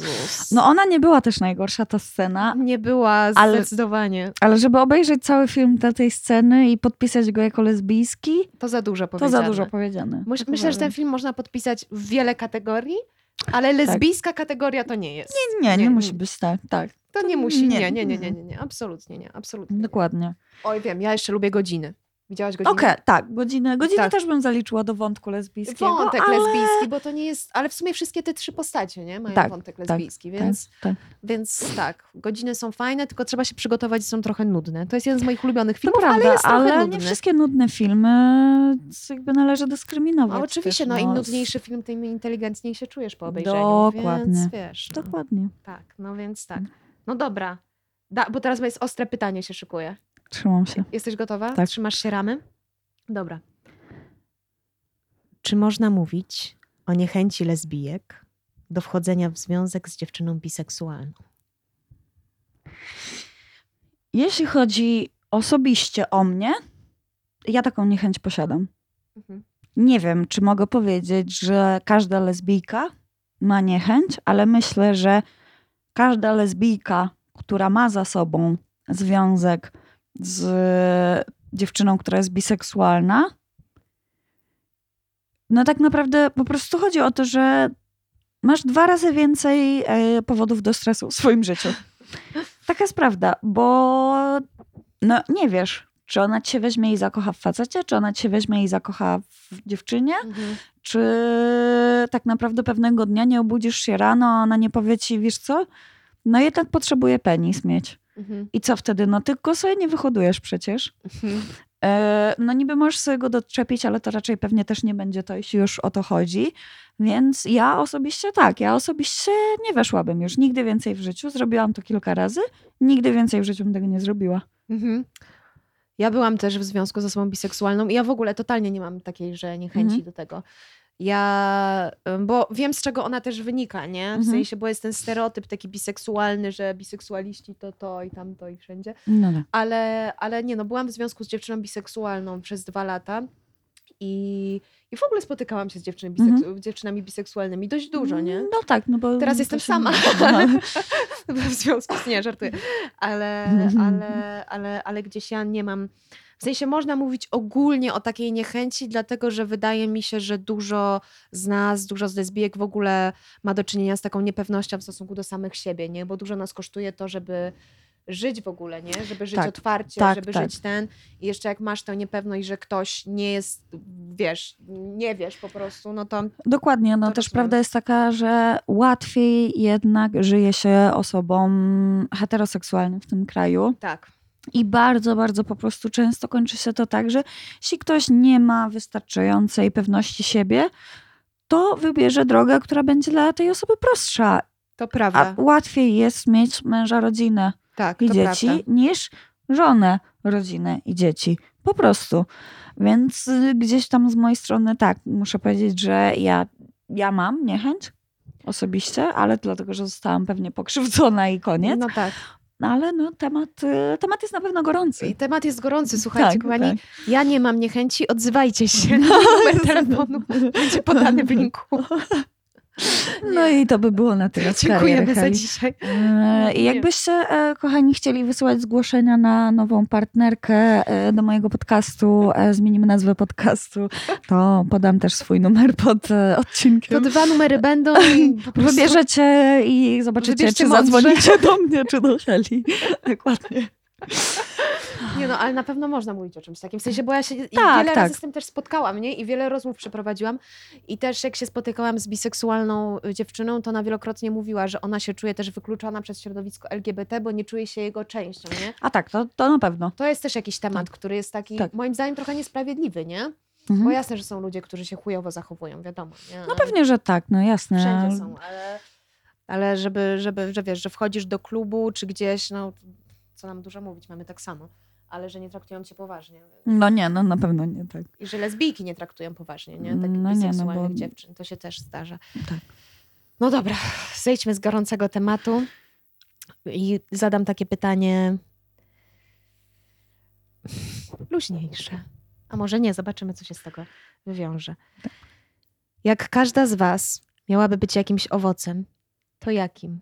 [SPEAKER 1] Jezus.
[SPEAKER 2] No ona nie była też najgorsza ta scena,
[SPEAKER 1] nie była
[SPEAKER 2] Ale-
[SPEAKER 1] zdecydowanie.
[SPEAKER 2] ale żeby obejrzeć cały film dla tej sceny i podpisać go jako lesbijski,
[SPEAKER 1] To za dużo
[SPEAKER 2] to
[SPEAKER 1] powiedziane.
[SPEAKER 2] za dużo powiedziane.
[SPEAKER 1] Myś,
[SPEAKER 2] Tak
[SPEAKER 1] myślę, że
[SPEAKER 2] uważam.
[SPEAKER 1] ten film można podpisać w wiele kategorii, ale lesbijska kategoria to nie jest.
[SPEAKER 2] Tak. Nie, nie,
[SPEAKER 1] nie-
[SPEAKER 2] musi być tak, tak,
[SPEAKER 1] to nie musi.
[SPEAKER 2] nie,
[SPEAKER 1] Nie, nie, nie, nie,
[SPEAKER 2] nie.
[SPEAKER 1] nie, nie, absolutnie nie, absolutnie. Nie.
[SPEAKER 2] dokładnie.
[SPEAKER 1] Oj, wiem, ja jeszcze lubię godziny. Widziałaś godziny?
[SPEAKER 2] Okej, tak, godzinę, godzinę
[SPEAKER 1] Tak.
[SPEAKER 2] też bym zaliczyła do wątku lesbijskiego.
[SPEAKER 1] Wątek
[SPEAKER 2] No, ale...
[SPEAKER 1] lesbijski, bo to nie jest, ale w sumie wszystkie te trzy postacie, nie, mają
[SPEAKER 2] Tak,
[SPEAKER 1] wątek
[SPEAKER 2] tak,
[SPEAKER 1] lesbijski,
[SPEAKER 2] tak,
[SPEAKER 1] więc,
[SPEAKER 2] tak.
[SPEAKER 1] więc tak, godziny są fajne, tylko trzeba się przygotować, są trochę nudne. To jest jeden z moich ulubionych
[SPEAKER 2] To
[SPEAKER 1] filmów,
[SPEAKER 2] No prawda,
[SPEAKER 1] ale jest trochę
[SPEAKER 2] nie
[SPEAKER 1] nudny.
[SPEAKER 2] wszystkie nudne filmy c- jakby należy dyskryminować.
[SPEAKER 1] A oczywiście,
[SPEAKER 2] też,
[SPEAKER 1] no im
[SPEAKER 2] z-
[SPEAKER 1] nudniejszy film, tym inteligentniejszy czujesz po obejrzeniu.
[SPEAKER 2] Dokładnie. Mm.
[SPEAKER 1] Więc wiesz, no,
[SPEAKER 2] Dokładnie,
[SPEAKER 1] tak, no więc tak. No dobra, da, bo teraz jest ostre pytanie się szykuje.
[SPEAKER 2] trzymam się.
[SPEAKER 1] Jesteś gotowa?
[SPEAKER 2] Tak.
[SPEAKER 1] Trzymasz się ramy? Dobra. Czy można mówić o niechęci lesbijek do wchodzenia w związek z dziewczyną biseksualną?
[SPEAKER 2] Jeśli chodzi osobiście o mnie, ja taką niechęć posiadam.
[SPEAKER 1] Mhm.
[SPEAKER 2] Nie wiem, czy mogę powiedzieć, że każda lesbijka ma niechęć, ale myślę, że każda lesbijka, która ma za sobą związek z dziewczyną, która jest biseksualna, no tak naprawdę po prostu chodzi o to, że masz dwa razy więcej e, powodów do stresu w swoim życiu. Taka jest prawda, bo no nie wiesz, czy ona cię weźmie i zakocha w facecie, czy ona cię weźmie i zakocha w dziewczynie,
[SPEAKER 1] Mhm.
[SPEAKER 2] czy tak naprawdę pewnego dnia nie obudzisz się rano, a ona nie powie ci, wiesz co? No jednak potrzebuje penis mieć.
[SPEAKER 1] Mhm.
[SPEAKER 2] I co wtedy? No tylko sobie nie wyhodujesz przecież. E, No niby możesz sobie go doczepić, ale to raczej pewnie też nie będzie to, jeśli już o to chodzi. Więc ja osobiście tak, ja osobiście nie weszłabym już nigdy więcej w życiu. Zrobiłam to kilka razy, nigdy więcej w życiu bym tego nie zrobiła.
[SPEAKER 1] Mhm. Ja byłam też w związku ze sobą biseksualną i ja w ogóle totalnie nie mam takiej, że niechęci
[SPEAKER 2] Mhm.
[SPEAKER 1] do tego. Ja, ym, bo wiem z czego ona też wynika, nie? W
[SPEAKER 2] Mhm.
[SPEAKER 1] sensie, bo jest ten stereotyp taki biseksualny, że biseksualiści to to i tamto i wszędzie.
[SPEAKER 2] No tak.
[SPEAKER 1] Ale, ale nie, no byłam w związku z dziewczyną biseksualną przez dwa lata. i, i w ogóle spotykałam się z dziewczyny
[SPEAKER 2] Mhm.
[SPEAKER 1] biseksu- dziewczynami biseksualnymi dość dużo, nie?
[SPEAKER 2] No tak, no bo...
[SPEAKER 1] Teraz
[SPEAKER 2] to
[SPEAKER 1] jestem
[SPEAKER 2] się-
[SPEAKER 1] sama.
[SPEAKER 2] No.
[SPEAKER 1] [laughs] w związku z nie, żartuję. Ale,
[SPEAKER 2] Mhm.
[SPEAKER 1] ale, ale, ale gdzieś ja nie mam. W sensie można mówić ogólnie o takiej niechęci, dlatego że wydaje mi się, że dużo z nas, dużo z lesbijek w ogóle ma do czynienia z taką niepewnością w stosunku do samych siebie, nie? Bo dużo nas kosztuje to, żeby żyć w ogóle, nie? Żeby żyć
[SPEAKER 2] Tak,
[SPEAKER 1] otwarcie,
[SPEAKER 2] tak,
[SPEAKER 1] żeby
[SPEAKER 2] tak.
[SPEAKER 1] żyć ten. I jeszcze jak masz tę niepewność, że ktoś nie jest, wiesz, nie wiesz po prostu, no to
[SPEAKER 2] Dokładnie, no
[SPEAKER 1] To
[SPEAKER 2] też
[SPEAKER 1] rozumiem.
[SPEAKER 2] prawda jest taka, że łatwiej jednak żyje się osobom heteroseksualnym w tym kraju.
[SPEAKER 1] tak.
[SPEAKER 2] I bardzo, bardzo po prostu często kończy się to tak, że jeśli ktoś nie ma wystarczającej pewności siebie, to wybierze drogę, która będzie dla tej osoby prostsza.
[SPEAKER 1] To
[SPEAKER 2] A
[SPEAKER 1] prawda.
[SPEAKER 2] łatwiej jest mieć męża, rodzinę
[SPEAKER 1] tak,
[SPEAKER 2] i
[SPEAKER 1] to
[SPEAKER 2] dzieci
[SPEAKER 1] prawda.
[SPEAKER 2] niż żonę, rodzinę i dzieci. Po prostu. Więc y, gdzieś tam z mojej strony tak, muszę powiedzieć, że ja, ja mam niechęć osobiście, ale dlatego, że zostałam pewnie pokrzywdzona i koniec.
[SPEAKER 1] No tak.
[SPEAKER 2] Ale no temat, y, temat jest na pewno gorący.
[SPEAKER 1] I temat jest gorący, słuchajcie,
[SPEAKER 2] Tak,
[SPEAKER 1] kochani.
[SPEAKER 2] tak.
[SPEAKER 1] Ja nie mam niechęci, odzywajcie się. [laughs] Numer telefonu będzie podany w linku.
[SPEAKER 2] No i to by było na tyle. z
[SPEAKER 1] Dziękujemy
[SPEAKER 2] kariery
[SPEAKER 1] za
[SPEAKER 2] Heli.
[SPEAKER 1] dzisiaj. No,
[SPEAKER 2] E, I jakbyście, e, kochani, chcieli wysyłać zgłoszenia na nową partnerkę e, do mojego podcastu, e, zmienimy nazwę podcastu, to podam też swój numer pod e,
[SPEAKER 1] To
[SPEAKER 2] odcinkiem.
[SPEAKER 1] dwa numery będą. i po prostu-
[SPEAKER 2] Wybierzecie i zobaczycie,
[SPEAKER 1] Wybierzcie
[SPEAKER 2] czy
[SPEAKER 1] mądrze.
[SPEAKER 2] zadzwonicie do mnie, czy do Heli.
[SPEAKER 1] [laughs]
[SPEAKER 2] Dokładnie.
[SPEAKER 1] Nie no, ale na pewno można mówić o czymś takim. W sensie, bo ja się i
[SPEAKER 2] Tak,
[SPEAKER 1] wiele
[SPEAKER 2] tak.
[SPEAKER 1] razy z tym też spotkałam, nie? I wiele rozmów przeprowadziłam. I też jak się spotykałam z biseksualną y, dziewczyną, to ona wielokrotnie mówiła, że ona się czuje też wykluczona przez środowisko LGBT, bo nie czuje się jego częścią, nie?
[SPEAKER 2] A tak, to, to na pewno.
[SPEAKER 1] To jest też jakiś temat, który jest taki,
[SPEAKER 2] Tak.
[SPEAKER 1] moim zdaniem, trochę niesprawiedliwy, nie? Bo
[SPEAKER 2] Mhm.
[SPEAKER 1] jasne, że są ludzie, którzy się chujowo zachowują, wiadomo. Nie?
[SPEAKER 2] No
[SPEAKER 1] Ale
[SPEAKER 2] pewnie, że tak, no jasne.
[SPEAKER 1] Wszędzie są, ale, ale żeby, żeby, że wiesz, że wchodzisz do klubu czy gdzieś, no co nam dużo mówić, mamy tak samo, ale że nie traktują cię poważnie.
[SPEAKER 2] No nie, no na pewno nie tak.
[SPEAKER 1] I że lesbijki nie traktują poważnie, nie? Tak
[SPEAKER 2] No nie, no
[SPEAKER 1] biseksualnych
[SPEAKER 2] bo-
[SPEAKER 1] dziewczyn, to się też zdarza.
[SPEAKER 2] Tak.
[SPEAKER 1] No dobra, zejdźmy z gorącego tematu i zadam takie pytanie luźniejsze. A może nie, zobaczymy, co się z tego wywiąże. Jak każda z Was miałaby być jakimś owocem, to jakim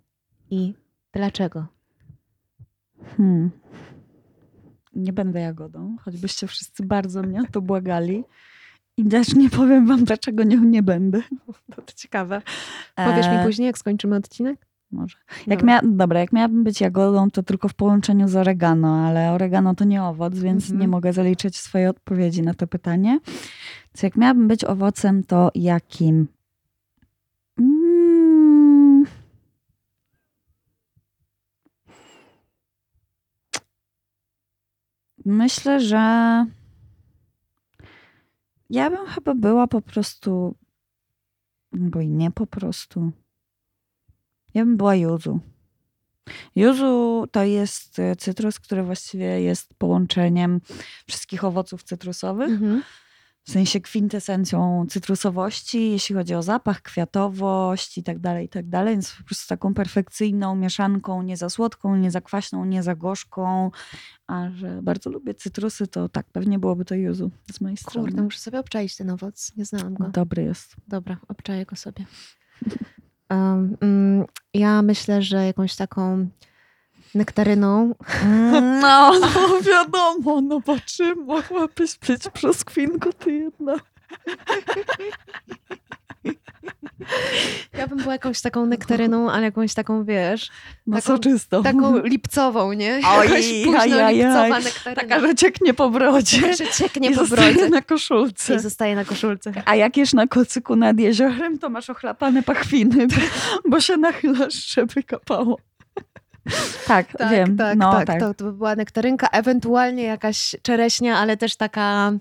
[SPEAKER 1] i dlaczego?
[SPEAKER 2] Hmm. Nie będę jagodą, choćbyście wszyscy bardzo mnie o to błagali. I też nie powiem wam, dlaczego nią nie będę. [laughs]
[SPEAKER 1] To, ciekawe. Powiesz mi
[SPEAKER 2] E,
[SPEAKER 1] później, jak skończymy odcinek?
[SPEAKER 2] Może. Jak
[SPEAKER 1] Dobra.
[SPEAKER 2] dobra. dobra, jak miałabym być jagodą, to tylko w połączeniu z oregano, ale oregano to nie owoc, więc
[SPEAKER 1] Mhm.
[SPEAKER 2] nie mogę zaliczyć swojej odpowiedzi na to pytanie. Więc jak miałabym być owocem, to jakim? Mm. Myślę, że ja bym chyba była po prostu, bo i nie po prostu. Ja bym była Juzu. Juzu to jest y, cytrus, który właściwie jest połączeniem wszystkich owoców cytrusowych,
[SPEAKER 1] Mhm.
[SPEAKER 2] w sensie kwintesencją cytrusowości, jeśli chodzi o zapach, kwiatowość i tak dalej, i tak dalej. Więc po prostu taką perfekcyjną mieszanką, nie za słodką, nie za kwaśną, nie za gorzką. A że bardzo lubię cytrusy, to tak, pewnie byłoby to Juzu z mojej strony.
[SPEAKER 1] Kurde, muszę sobie obczaić ten owoc. Nie znałam go.
[SPEAKER 2] Dobry jest.
[SPEAKER 1] Dobra, obczaję go sobie. [laughs] Em, mm, ja myślę, że jakąś taką nektaryną. Mm.
[SPEAKER 2] No, no wiadomo, no bo czym mogłabyś być przez kwinku ty jedna?
[SPEAKER 1] Ja bym była jakąś taką nektaryną, ale jakąś taką, wiesz,
[SPEAKER 2] No
[SPEAKER 1] Taką- [laughs]
[SPEAKER 2] soczystą.
[SPEAKER 1] taką lipcową, nie?
[SPEAKER 2] Oj,
[SPEAKER 1] Jakaś późno
[SPEAKER 2] ajajaj.
[SPEAKER 1] lipcowa nektaryna.
[SPEAKER 2] Taka, że cieknie po
[SPEAKER 1] [laughs]
[SPEAKER 2] brodzie.
[SPEAKER 1] że cieknie
[SPEAKER 2] I
[SPEAKER 1] po
[SPEAKER 2] zostaje
[SPEAKER 1] brodze.
[SPEAKER 2] na koszulce.
[SPEAKER 1] I zostaje na koszulce.
[SPEAKER 2] A jak jesz na kocyku nad jeziorem, to masz ochlapane pachwiny,
[SPEAKER 1] Tak.
[SPEAKER 2] bo się nachylasz, żeby kapało. Tak,
[SPEAKER 1] Tak,
[SPEAKER 2] wiem.
[SPEAKER 1] tak,
[SPEAKER 2] no,
[SPEAKER 1] tak, To, to by była nektarynka, ewentualnie jakaś czereśnia, ale też taka...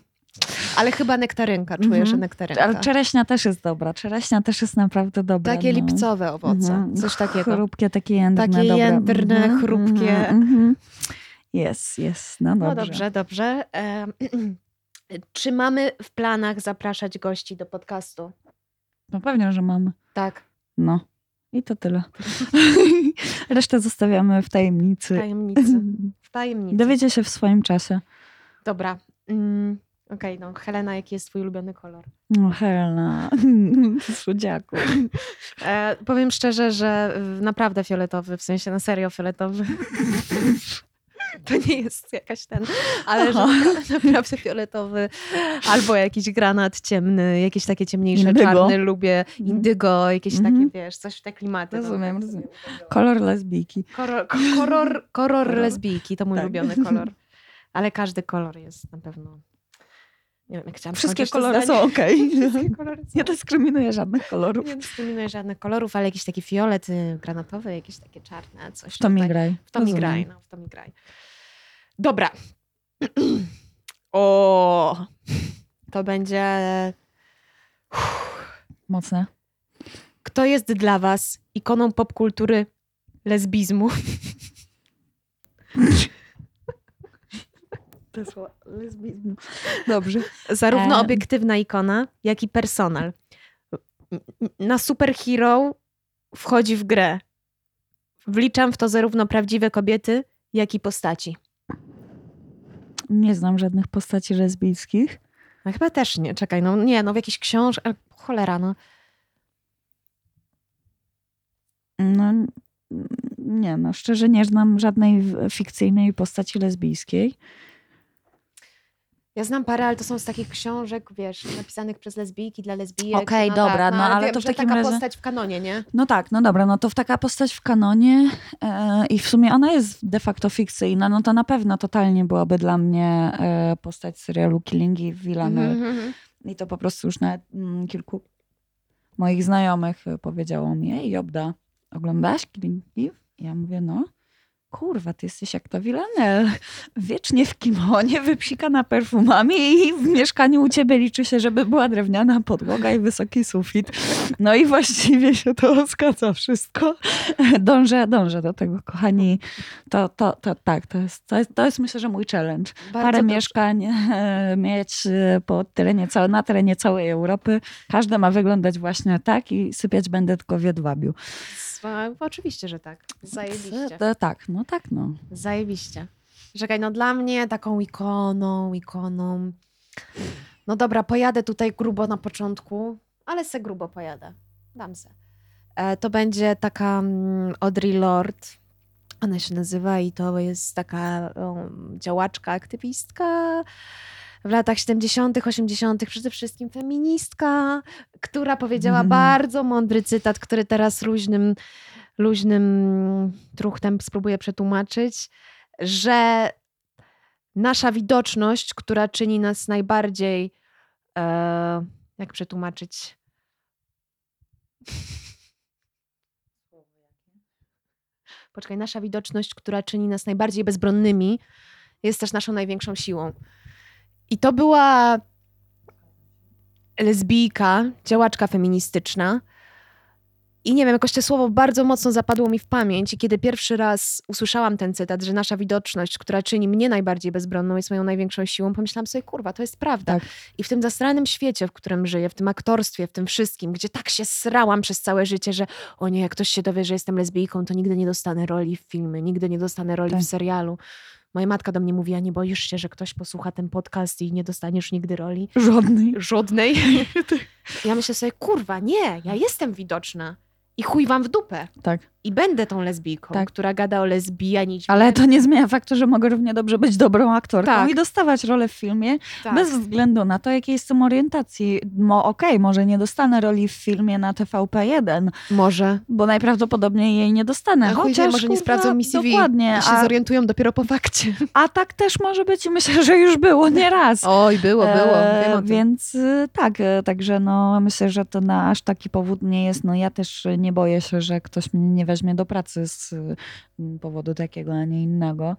[SPEAKER 1] Ale chyba nektarynka, czuję,
[SPEAKER 2] Mhm.
[SPEAKER 1] że nektarynka.
[SPEAKER 2] Ale czereśnia też jest dobra. Czereśnia też jest naprawdę dobra.
[SPEAKER 1] Takie
[SPEAKER 2] no.
[SPEAKER 1] lipcowe owoce,
[SPEAKER 2] Mhm.
[SPEAKER 1] coś takiego.
[SPEAKER 2] Chrupkie, takie jędrne.
[SPEAKER 1] Takie
[SPEAKER 2] dobre.
[SPEAKER 1] jędrne,
[SPEAKER 2] Mhm,
[SPEAKER 1] chrupkie.
[SPEAKER 2] mhm,
[SPEAKER 1] [laughs]
[SPEAKER 2] mhm. Jest, jest. No dobrze.
[SPEAKER 1] No dobrze, dobrze. Em, [clears throat] Czy mamy w planach zapraszać gości do podcastu?
[SPEAKER 2] No pewnie, że mamy.
[SPEAKER 1] Tak,
[SPEAKER 2] No. I to
[SPEAKER 1] [laughs]
[SPEAKER 2] tyle. Resztę zostawiamy w tajemnicy. [clears throat] Mhm.
[SPEAKER 1] w tajemnicy. W tajemnicy.
[SPEAKER 2] Dowiecie się w swoim czasie.
[SPEAKER 1] Dobra. Mm, Okej, no Helena, jaki jest twój ulubiony kolor?
[SPEAKER 2] No Helena, [laughs] słodziaku.
[SPEAKER 1] E, powiem szczerze, że y, naprawdę fioletowy, w sensie na serio fioletowy. [laughs] To nie jest jakaś ten, ale że
[SPEAKER 2] Aha.
[SPEAKER 1] [laughs] naprawdę fioletowy, albo jakiś granat ciemny, jakieś takie ciemniejsze,
[SPEAKER 2] Indygo.
[SPEAKER 1] czarny lubię, indygo, jakieś
[SPEAKER 2] Mhm.
[SPEAKER 1] takie, wiesz, coś w te klimaty.
[SPEAKER 2] Rozumiem,
[SPEAKER 1] no.
[SPEAKER 2] rozumiem. Kolor lesbijki.
[SPEAKER 1] Koror, ko-
[SPEAKER 2] [laughs]
[SPEAKER 1] koror, koror
[SPEAKER 2] Kolor.
[SPEAKER 1] lesbijki to mój
[SPEAKER 2] Tak.
[SPEAKER 1] ulubiony kolor, ale każdy kolor jest na pewno, nie wiem, jak chciałam
[SPEAKER 2] Wszystkie
[SPEAKER 1] skończyć to
[SPEAKER 2] kolory
[SPEAKER 1] zdanie.
[SPEAKER 2] są
[SPEAKER 1] [laughs]
[SPEAKER 2] okej.
[SPEAKER 1] Wszystkie kolory są
[SPEAKER 2] [laughs] Nie dyskryminuję żadnych kolorów.
[SPEAKER 1] nie dyskryminuję żadnych kolorów, ale jakiś taki fiolet y, granatowy, jakieś takie czarne, coś.
[SPEAKER 2] W to mi
[SPEAKER 1] tutaj.
[SPEAKER 2] graj.
[SPEAKER 1] tak. W to mi
[SPEAKER 2] Rozumiem.
[SPEAKER 1] graj, no, w to mi graj. Dobra. [clears throat] o, to będzie... Uff.
[SPEAKER 2] Mocne.
[SPEAKER 1] Kto jest dla was ikoną popkultury lesbizmu?
[SPEAKER 2] Te słowa lesbizmu. Dobrze.
[SPEAKER 1] Zarówno
[SPEAKER 2] Em.
[SPEAKER 1] obiektywna ikona, jak i personal. Na superhero wchodzi w grę. Wliczam w to zarówno prawdziwe kobiety, jak i postaci.
[SPEAKER 2] Nie znam żadnych postaci lesbijskich.
[SPEAKER 1] No chyba też nie, czekaj, no nie, no w jakichś książkach, cholera, no.
[SPEAKER 2] No, n- nie, no szczerze nie znam żadnej w- fikcyjnej postaci lesbijskiej.
[SPEAKER 1] Ja znam parę, ale to są z takich książek, wiesz, napisanych przez lesbijki dla lesbijek.
[SPEAKER 2] Okej,
[SPEAKER 1] no
[SPEAKER 2] dobra,
[SPEAKER 1] tak,
[SPEAKER 2] no ale
[SPEAKER 1] wiem,
[SPEAKER 2] to w
[SPEAKER 1] że
[SPEAKER 2] takim
[SPEAKER 1] taka
[SPEAKER 2] razie-
[SPEAKER 1] postać w kanonie, nie?
[SPEAKER 2] No tak, no dobra, no to w taka postać w kanonie e, i w sumie ona jest de facto fikcyjna, no to na pewno totalnie byłaby dla mnie e, postać z serialu Killing Eve Villanelle.
[SPEAKER 1] Mhm,
[SPEAKER 2] I to po prostu już nawet mm, kilku moich znajomych y, powiedziało mi, ej Jobda, oglądasz Killing Eve? I Ja mówię, no kurwa, ty jesteś jak ta Villanelle. Wiecznie w kimonie, wypsikana perfumami i w mieszkaniu u ciebie liczy się, żeby była drewniana podłoga i wysoki sufit. No i właściwie się to [laughs] zgadza wszystko. Dążę, dążę do tego, kochani. To, to, to tak, to jest, to jest, to jest myślę, że mój challenge
[SPEAKER 1] Bardzo
[SPEAKER 2] parę
[SPEAKER 1] dobrze.
[SPEAKER 2] mieszkań e, mieć e, po terenie, całe- na terenie całej Europy. Każde ma wyglądać właśnie tak i sypiać będę tylko w jedwabiu.
[SPEAKER 1] Swa- Oczywiście, że tak. Zajebiście.
[SPEAKER 2] To, tak, no tak, no.
[SPEAKER 1] Zajebiście. Czekaj, no dla mnie taką ikoną, ikoną. No dobra, pojadę tutaj grubo na początku, ale se grubo pojadę. Dam se. E, to będzie taka mm, Audre Lorde. Ona się nazywa i to jest taka um, działaczka, aktywistka w latach 70., 80., przede wszystkim feministka, która powiedziała
[SPEAKER 2] Mhm.
[SPEAKER 1] bardzo mądry cytat, który teraz luźnym, luźnym truchtem spróbuję przetłumaczyć, że nasza widoczność, która czyni nas najbardziej, e, jak przetłumaczyć? Poczekaj, nasza widoczność, która czyni nas najbardziej bezbronnymi, jest też naszą największą siłą. I to była lesbijka, działaczka feministyczna. I nie wiem, jakoś to słowo bardzo mocno zapadło mi w pamięć. I kiedy pierwszy raz usłyszałam ten cytat, że nasza widoczność, która czyni mnie najbardziej bezbronną, jest moją największą siłą, pomyślałam sobie, kurwa, to jest prawda.
[SPEAKER 2] Tak.
[SPEAKER 1] I w tym zastranym świecie, w którym żyję, w tym aktorstwie, w tym wszystkim, gdzie tak się srałam przez całe życie, że o nie, jak ktoś się dowie, że jestem lesbijką, to nigdy nie dostanę roli w filmie, nigdy nie dostanę roli
[SPEAKER 2] Tak.
[SPEAKER 1] w serialu. Moja matka do mnie mówiła, nie boisz się, że ktoś posłucha ten podcast i nie dostaniesz nigdy roli?
[SPEAKER 2] Żadnej.
[SPEAKER 1] Żadnej. ja myślę sobie, kurwa, nie, ja jestem widoczna. I chuj wam w dupę.
[SPEAKER 2] Tak.
[SPEAKER 1] I będę tą lesbijką,
[SPEAKER 2] Tak.
[SPEAKER 1] która gada o lesbijanizmie.
[SPEAKER 2] Ale to nie zmienia faktu, że mogę równie dobrze być dobrą aktorką
[SPEAKER 1] Tak.
[SPEAKER 2] i dostawać rolę w filmie,
[SPEAKER 1] tak.
[SPEAKER 2] bez względu na to, jakiej jestem orientacji. Mo, okej, może nie dostanę roli w filmie na TVP1,
[SPEAKER 1] Tak. Może.
[SPEAKER 2] bo najprawdopodobniej jej nie dostanę.
[SPEAKER 1] A chuj wie,
[SPEAKER 2] Chociaż,
[SPEAKER 1] może nie
[SPEAKER 2] kurwa,
[SPEAKER 1] sprawdzą mi CV
[SPEAKER 2] Dokładnie.
[SPEAKER 1] I się
[SPEAKER 2] A,
[SPEAKER 1] zorientują dopiero po fakcie.
[SPEAKER 2] a tak też może być i myślę, że już było nieraz.
[SPEAKER 1] Oj, było,
[SPEAKER 2] E, Więc y, tak, e, także no myślę, że to na aż taki powód nie jest. No ja też y, nie boję się, że ktoś mnie nie weźmie do pracy z y, powodu takiego, a nie innego.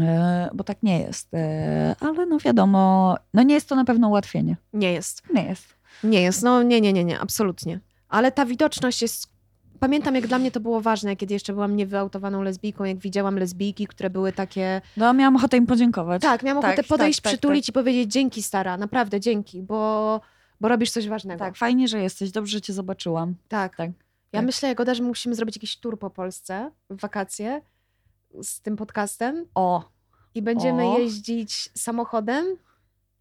[SPEAKER 2] E, Bo tak nie jest. E, Ale no wiadomo, no nie jest to na pewno ułatwienie.
[SPEAKER 1] Nie jest.
[SPEAKER 2] Nie jest.
[SPEAKER 1] Nie jest, no nie, nie, nie, nie, absolutnie. Ale ta widoczność jest. Pamiętam, jak dla mnie to było ważne, kiedy jeszcze byłam niewyautowaną lesbijką, jak widziałam lesbijki, które były takie.
[SPEAKER 2] No miałam ochotę im podziękować.
[SPEAKER 1] Tak, miałam
[SPEAKER 2] Tak,
[SPEAKER 1] ochotę podejść,
[SPEAKER 2] tak, tak,
[SPEAKER 1] przytulić i powiedzieć dzięki, stara, naprawdę dzięki, bo, bo robisz coś ważnego.
[SPEAKER 2] tak, fajnie, że jesteś. Dobrze, że cię zobaczyłam.
[SPEAKER 1] tak.
[SPEAKER 2] tak,
[SPEAKER 1] Ja
[SPEAKER 2] tak.
[SPEAKER 1] myślę, Jagoda, że musimy zrobić jakiś tour po Polsce w wakacje z tym podcastem
[SPEAKER 2] O,
[SPEAKER 1] i będziemy
[SPEAKER 2] O.
[SPEAKER 1] jeździć samochodem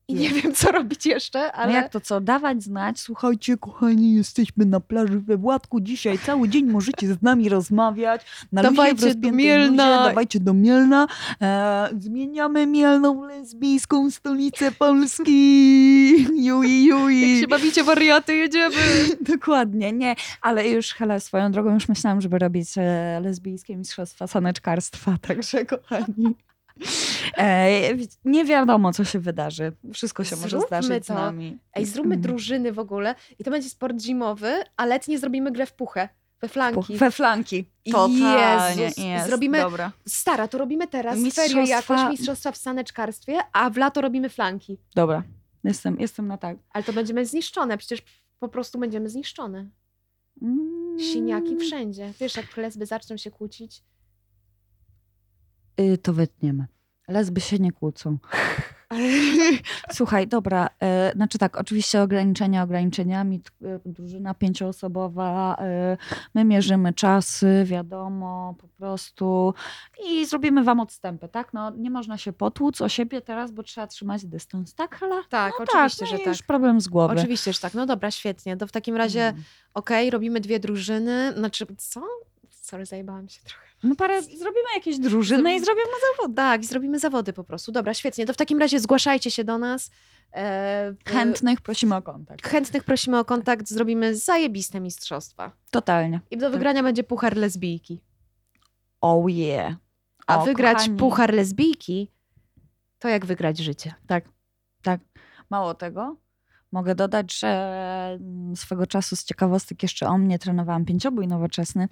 [SPEAKER 1] i nie wiem, co robić jeszcze, ale...
[SPEAKER 2] No jak to co, dawać znać? Słuchajcie, kochani, jesteśmy na plaży we Władku dzisiaj. Cały dzień możecie z nami rozmawiać. Na luzie, w
[SPEAKER 1] Dawajcie do
[SPEAKER 2] rozpiętym
[SPEAKER 1] Mielna.
[SPEAKER 2] luzie, dawajcie do Mielna. E, zmieniamy Mielną w lesbijską stolicę Polski. [laughs] Jui, [laughs] jui.
[SPEAKER 1] bawicie wariaty, jedziemy.
[SPEAKER 2] Dokładnie, nie. Ale już Hela swoją drogą już myślałam, żeby robić e, lesbijskie mistrzostwa saneczkarstwa, [laughs] także kochani. E, wi- nie wiadomo, co się wydarzy. Wszystko się może
[SPEAKER 1] Zróbmy
[SPEAKER 2] zdarzyć
[SPEAKER 1] to.
[SPEAKER 2] z nami.
[SPEAKER 1] Ej, zróbmy
[SPEAKER 2] Mm.
[SPEAKER 1] drużyny w ogóle i to będzie sport zimowy, a letnie zrobimy grę w puchę, we flanki.
[SPEAKER 2] We flanki.
[SPEAKER 1] Jezus,
[SPEAKER 2] jest.
[SPEAKER 1] zrobimy-
[SPEAKER 2] Dobra.
[SPEAKER 1] Stara, to robimy teraz
[SPEAKER 2] Mistrzostwa-
[SPEAKER 1] ferie jakoś, mistrzostwa w saneczkarstwie, a w lato robimy flanki.
[SPEAKER 2] Dobra. Jestem, jestem na tak.
[SPEAKER 1] Ale to będziemy zniszczone, przecież po prostu będziemy zniszczone.
[SPEAKER 2] Mm.
[SPEAKER 1] Siniaki wszędzie. Wiesz, jak lesby zaczną się kłócić.
[SPEAKER 2] Y, to wytniemy. Lesby się nie kłócą. Słuchaj, dobra, y, znaczy tak, oczywiście ograniczenia ograniczeniami, t- y, drużyna pięcioosobowa, y, my mierzymy czasy, wiadomo, po prostu i zrobimy wam odstępy, tak? No nie można się potłuc o siebie teraz, bo trzeba trzymać dystans, tak Hela?
[SPEAKER 1] [laughs] Tak,
[SPEAKER 2] No
[SPEAKER 1] oczywiście,
[SPEAKER 2] tak, no
[SPEAKER 1] że
[SPEAKER 2] i
[SPEAKER 1] tak.
[SPEAKER 2] już problem z głowy.
[SPEAKER 1] Oczywiście, że tak. No dobra, świetnie. To w takim razie,
[SPEAKER 2] Mm.
[SPEAKER 1] okej, robimy dwie drużyny. Znaczy, co? Sorry, zajebałam się trochę.
[SPEAKER 2] No parę, zrobimy jakieś drużyny i zrobimy
[SPEAKER 1] No tak, zrobimy zawody po prostu. Dobra, świetnie. To w takim razie zgłaszajcie się do nas. E, w-
[SPEAKER 2] chętnych, prosimy o kontakt.
[SPEAKER 1] Chętnych prosimy o kontakt, zrobimy zajebiste mistrzostwa.
[SPEAKER 2] Totalnie.
[SPEAKER 1] I do wygrania będzie puchar lesbijki.
[SPEAKER 2] Oh yeah.
[SPEAKER 1] A
[SPEAKER 2] O,
[SPEAKER 1] wygrać
[SPEAKER 2] kochani.
[SPEAKER 1] puchar lesbijki to jak wygrać życie. tak.
[SPEAKER 2] Mało tego, mogę dodać, że mm, swego czasu z ciekawostek jeszcze o mnie trenowałam pięciobój nowoczesny.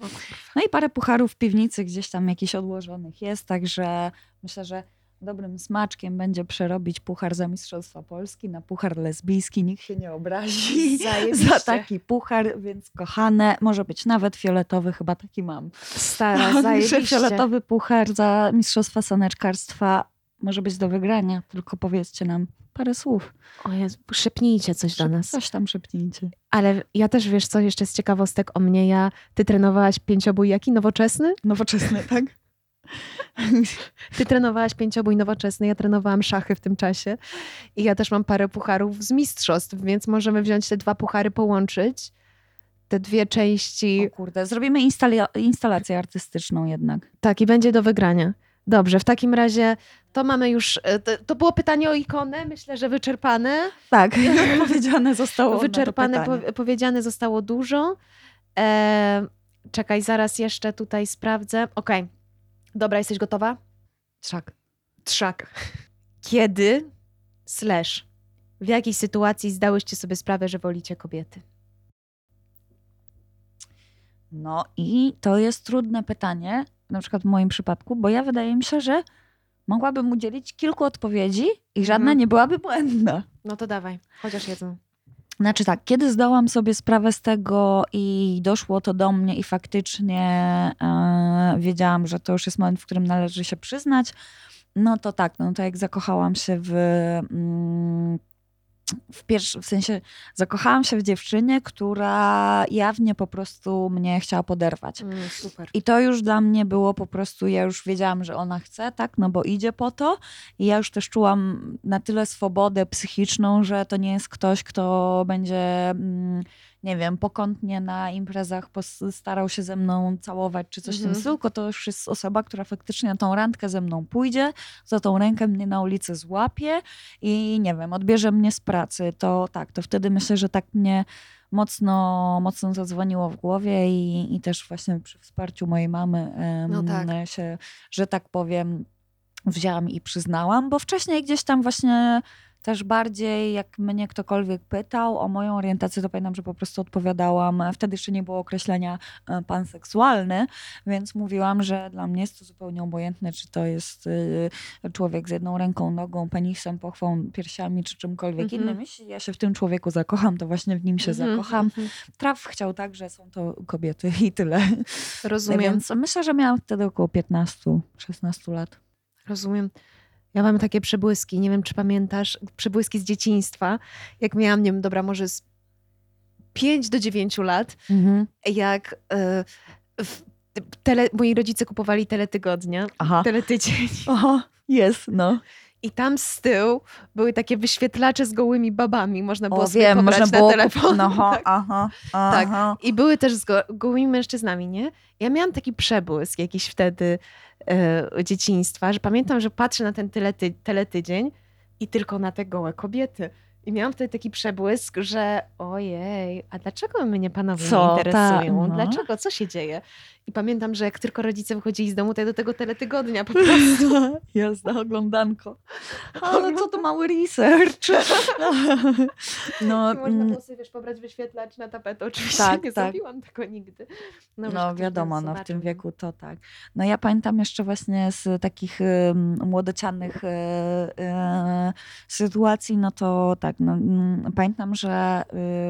[SPEAKER 2] No i parę pucharów w piwnicy gdzieś tam jakichś odłożonych jest, także myślę, że dobrym smaczkiem będzie przerobić puchar za Mistrzostwa Polski na puchar lesbijski. Nikt się nie obrazi [laughs] za
[SPEAKER 1] Zajebiście.
[SPEAKER 2] taki puchar, więc kochane, może być nawet fioletowy, chyba taki mam. [laughs] No,
[SPEAKER 1] Stara,
[SPEAKER 2] Także
[SPEAKER 1] zajebiście.
[SPEAKER 2] fioletowy puchar za Mistrzostwa Saneczkarstwa może być do wygrania, tylko powiedzcie nam parę słów.
[SPEAKER 1] O Jezu, szepnijcie coś do
[SPEAKER 2] Szyb-
[SPEAKER 1] nas.
[SPEAKER 2] Coś tam szepnijcie.
[SPEAKER 1] Ale ja też, wiesz co, jeszcze z ciekawostek o mnie, ja, ty trenowałaś pięciobój jaki? Nowoczesny?
[SPEAKER 2] Nowoczesne,
[SPEAKER 1] [laughs]
[SPEAKER 2] tak?
[SPEAKER 1] Ty trenowałaś pięciobój nowoczesny, ja trenowałam szachy w tym czasie. I ja też mam parę pucharów z mistrzostw, więc możemy wziąć te dwa puchary, połączyć te dwie części.
[SPEAKER 2] o kurde, zrobimy instala- instalację artystyczną jednak.
[SPEAKER 1] Tak, i będzie do wygrania. Dobrze, w takim razie to mamy już, e, to- to było pytanie o ikonę, myślę, że wyczerpane.
[SPEAKER 2] Tak, powiedziane zostało na to
[SPEAKER 1] Wyczerpane,
[SPEAKER 2] pytanie.
[SPEAKER 1] po, powiedziane zostało dużo. E, czekaj, zaraz jeszcze tutaj sprawdzę. Okej, dobra, jesteś gotowa?
[SPEAKER 2] Trzak.
[SPEAKER 1] Trzak. Kiedy, slash, w jakiej sytuacji zdałyście sobie sprawę, że wolicie kobiety?
[SPEAKER 2] No i to jest trudne pytanie, na przykład w moim przypadku, bo ja wydaje mi się, że mogłabym udzielić kilku odpowiedzi i żadna
[SPEAKER 1] Mhm.
[SPEAKER 2] nie byłaby błędna.
[SPEAKER 1] No to dawaj, chociaż jedną.
[SPEAKER 2] Znaczy tak, kiedy zdałam sobie sprawę z tego i doszło to do mnie i faktycznie e, wiedziałam, że to już jest moment, w którym należy się przyznać, no to tak, no to jak zakochałam się w... Mm, w, pierwszy, w sensie zakochałam się w dziewczynie, która jawnie po prostu mnie chciała poderwać.
[SPEAKER 1] Mm, super.
[SPEAKER 2] I to już dla mnie było po prostu, ja już wiedziałam, że ona chce, tak, no bo idzie po to. I ja już też czułam na tyle swobodę psychiczną, że to nie jest ktoś, kto będzie, mm, nie wiem, pokątnie na imprezach pos- starał się ze mną całować czy coś w tym
[SPEAKER 1] Mhm.
[SPEAKER 2] stylu, tylko to już jest osoba, która faktycznie na tą randkę ze mną pójdzie, za tą rękę mnie na ulicy złapie i nie wiem, odbierze mnie z pracy. To tak, to wtedy myślę, że tak mnie mocno, mocno zadzwoniło w głowie i, i też właśnie przy wsparciu mojej mamy em,
[SPEAKER 1] No tak.
[SPEAKER 2] się, że tak powiem, wzięłam i przyznałam, bo wcześniej gdzieś tam właśnie też bardziej, jak mnie ktokolwiek pytał o moją orientację, to pamiętam, że po prostu odpowiadałam. Wtedy jeszcze nie było określenia e, panseksualny, więc mówiłam, że dla mnie jest to zupełnie obojętne, czy to jest y, człowiek z jedną ręką, nogą, penisem, pochwą, piersiami, czy czymkolwiek
[SPEAKER 1] Mhm.
[SPEAKER 2] innym. Jeśli ja się w tym człowieku zakocham, to właśnie w nim się
[SPEAKER 1] Mhm,
[SPEAKER 2] zakocham.
[SPEAKER 1] mhm.
[SPEAKER 2] Traf chciał tak, że są to kobiety i tyle.
[SPEAKER 1] Rozumiem.
[SPEAKER 2] Więc myślę, że miałam wtedy około 15-16 lat.
[SPEAKER 1] Rozumiem. Ja mam takie przebłyski, nie wiem czy pamiętasz, przebłyski z dzieciństwa, jak miałam, nie wiem, dobra, może z 5 do 9 lat,
[SPEAKER 2] Mhm.
[SPEAKER 1] jak e, w tele, moi rodzice kupowali teletygodnia,
[SPEAKER 2] Aha.
[SPEAKER 1] teletydzień.
[SPEAKER 2] Aha, jest, no.
[SPEAKER 1] I tam z tyłu były takie wyświetlacze z gołymi babami, można było
[SPEAKER 2] O,
[SPEAKER 1] sobie
[SPEAKER 2] wiem,
[SPEAKER 1] pobrać
[SPEAKER 2] można
[SPEAKER 1] na
[SPEAKER 2] było...
[SPEAKER 1] telefon. [laughs]
[SPEAKER 2] No, ho,
[SPEAKER 1] tak.
[SPEAKER 2] aha,
[SPEAKER 1] Tak.
[SPEAKER 2] aha.
[SPEAKER 1] I były też z go- gołymi mężczyznami, nie? Ja miałam taki przebłysk jakiś wtedy e, dzieciństwa, że pamiętam, że patrzę na ten telety- teletydzień i tylko na te gołe kobiety. I miałam wtedy taki przebłysk, że ojej, a dlaczego mnie panowie
[SPEAKER 2] Co?
[SPEAKER 1] nie interesują?
[SPEAKER 2] Ta- no.
[SPEAKER 1] Dlaczego? Co się dzieje? I pamiętam, że jak tylko rodzice wychodzili z domu, to ja do tego teletygodnia po prostu.
[SPEAKER 2] Jazda, oglądanko. Ale co to mały research. [laughs] [laughs] No,
[SPEAKER 1] I można
[SPEAKER 2] mm,
[SPEAKER 1] było sobie, wiesz, pobrać wyświetlacz na tapetę. Oczywiście
[SPEAKER 2] Tak,
[SPEAKER 1] nie
[SPEAKER 2] tak.
[SPEAKER 1] zrobiłam tego nigdy.
[SPEAKER 2] no,
[SPEAKER 1] już ktoś
[SPEAKER 2] wiadomo,
[SPEAKER 1] tam
[SPEAKER 2] no, w
[SPEAKER 1] zobaczył,
[SPEAKER 2] tym
[SPEAKER 1] nie?
[SPEAKER 2] wieku to tak. No ja pamiętam jeszcze właśnie z takich em, młodocianych e, e, sytuacji, no to tak, no, mm, pamiętam, że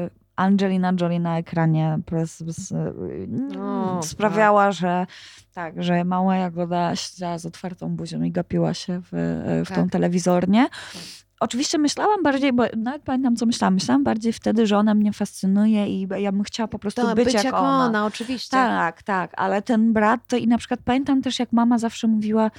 [SPEAKER 2] y, Angelina Jolie na ekranie pres, s- mm,
[SPEAKER 1] O,
[SPEAKER 2] sprawiała, że tak, że mała Jagoda siedziała z otwartą buzią i gapiła się w, e, w tą
[SPEAKER 1] Tak.
[SPEAKER 2] telewizornie. Oczywiście myślałam bardziej, bo nawet pamiętam, co myślałam. Myślałam bardziej wtedy, że ona mnie fascynuje i ja bym chciała po prostu
[SPEAKER 1] To
[SPEAKER 2] być, jak, ona.
[SPEAKER 1] oczywiście.
[SPEAKER 2] Tak, tak, ale ten brat to i na przykład pamiętam też, jak mama zawsze mówiła,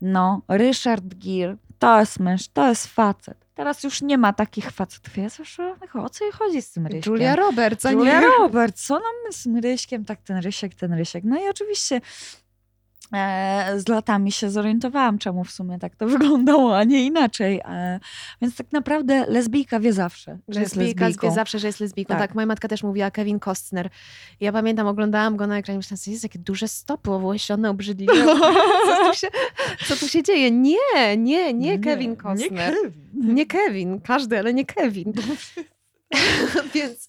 [SPEAKER 2] no, Richard Gere, to jest męż, to jest facet. Teraz już nie ma takich facetów. Ja zawsze, "Ach, o co jej chodzi z tym ryśkiem?
[SPEAKER 1] Julia Roberts, a
[SPEAKER 2] Julia
[SPEAKER 1] nie...
[SPEAKER 2] Roberts, co nam z tym ryśkiem, tak ten rysiek, ten rysiek. No i oczywiście e, z latami się zorientowałam, czemu w sumie tak to [laughs] wyglądało, a nie inaczej. E, więc tak naprawdę lesbijka wie zawsze, że jest
[SPEAKER 1] Lesbijka,
[SPEAKER 2] lesbijką.
[SPEAKER 1] lesbijką. zawsze, że jest lesbijką.
[SPEAKER 2] Tak.
[SPEAKER 1] Tak. moja matka też mówiła, Kevin Costner. Ja pamiętam, oglądałam go na ekranie i myślałam sobie, jest jakie duże stopy owłosione, obrzydliwe. Co tu się, co tu się dzieje? Nie, nie, nie Kevin Costner.
[SPEAKER 2] Kevin.
[SPEAKER 1] Nie Kevin, każdy, ale nie Kevin. [laughs] więc,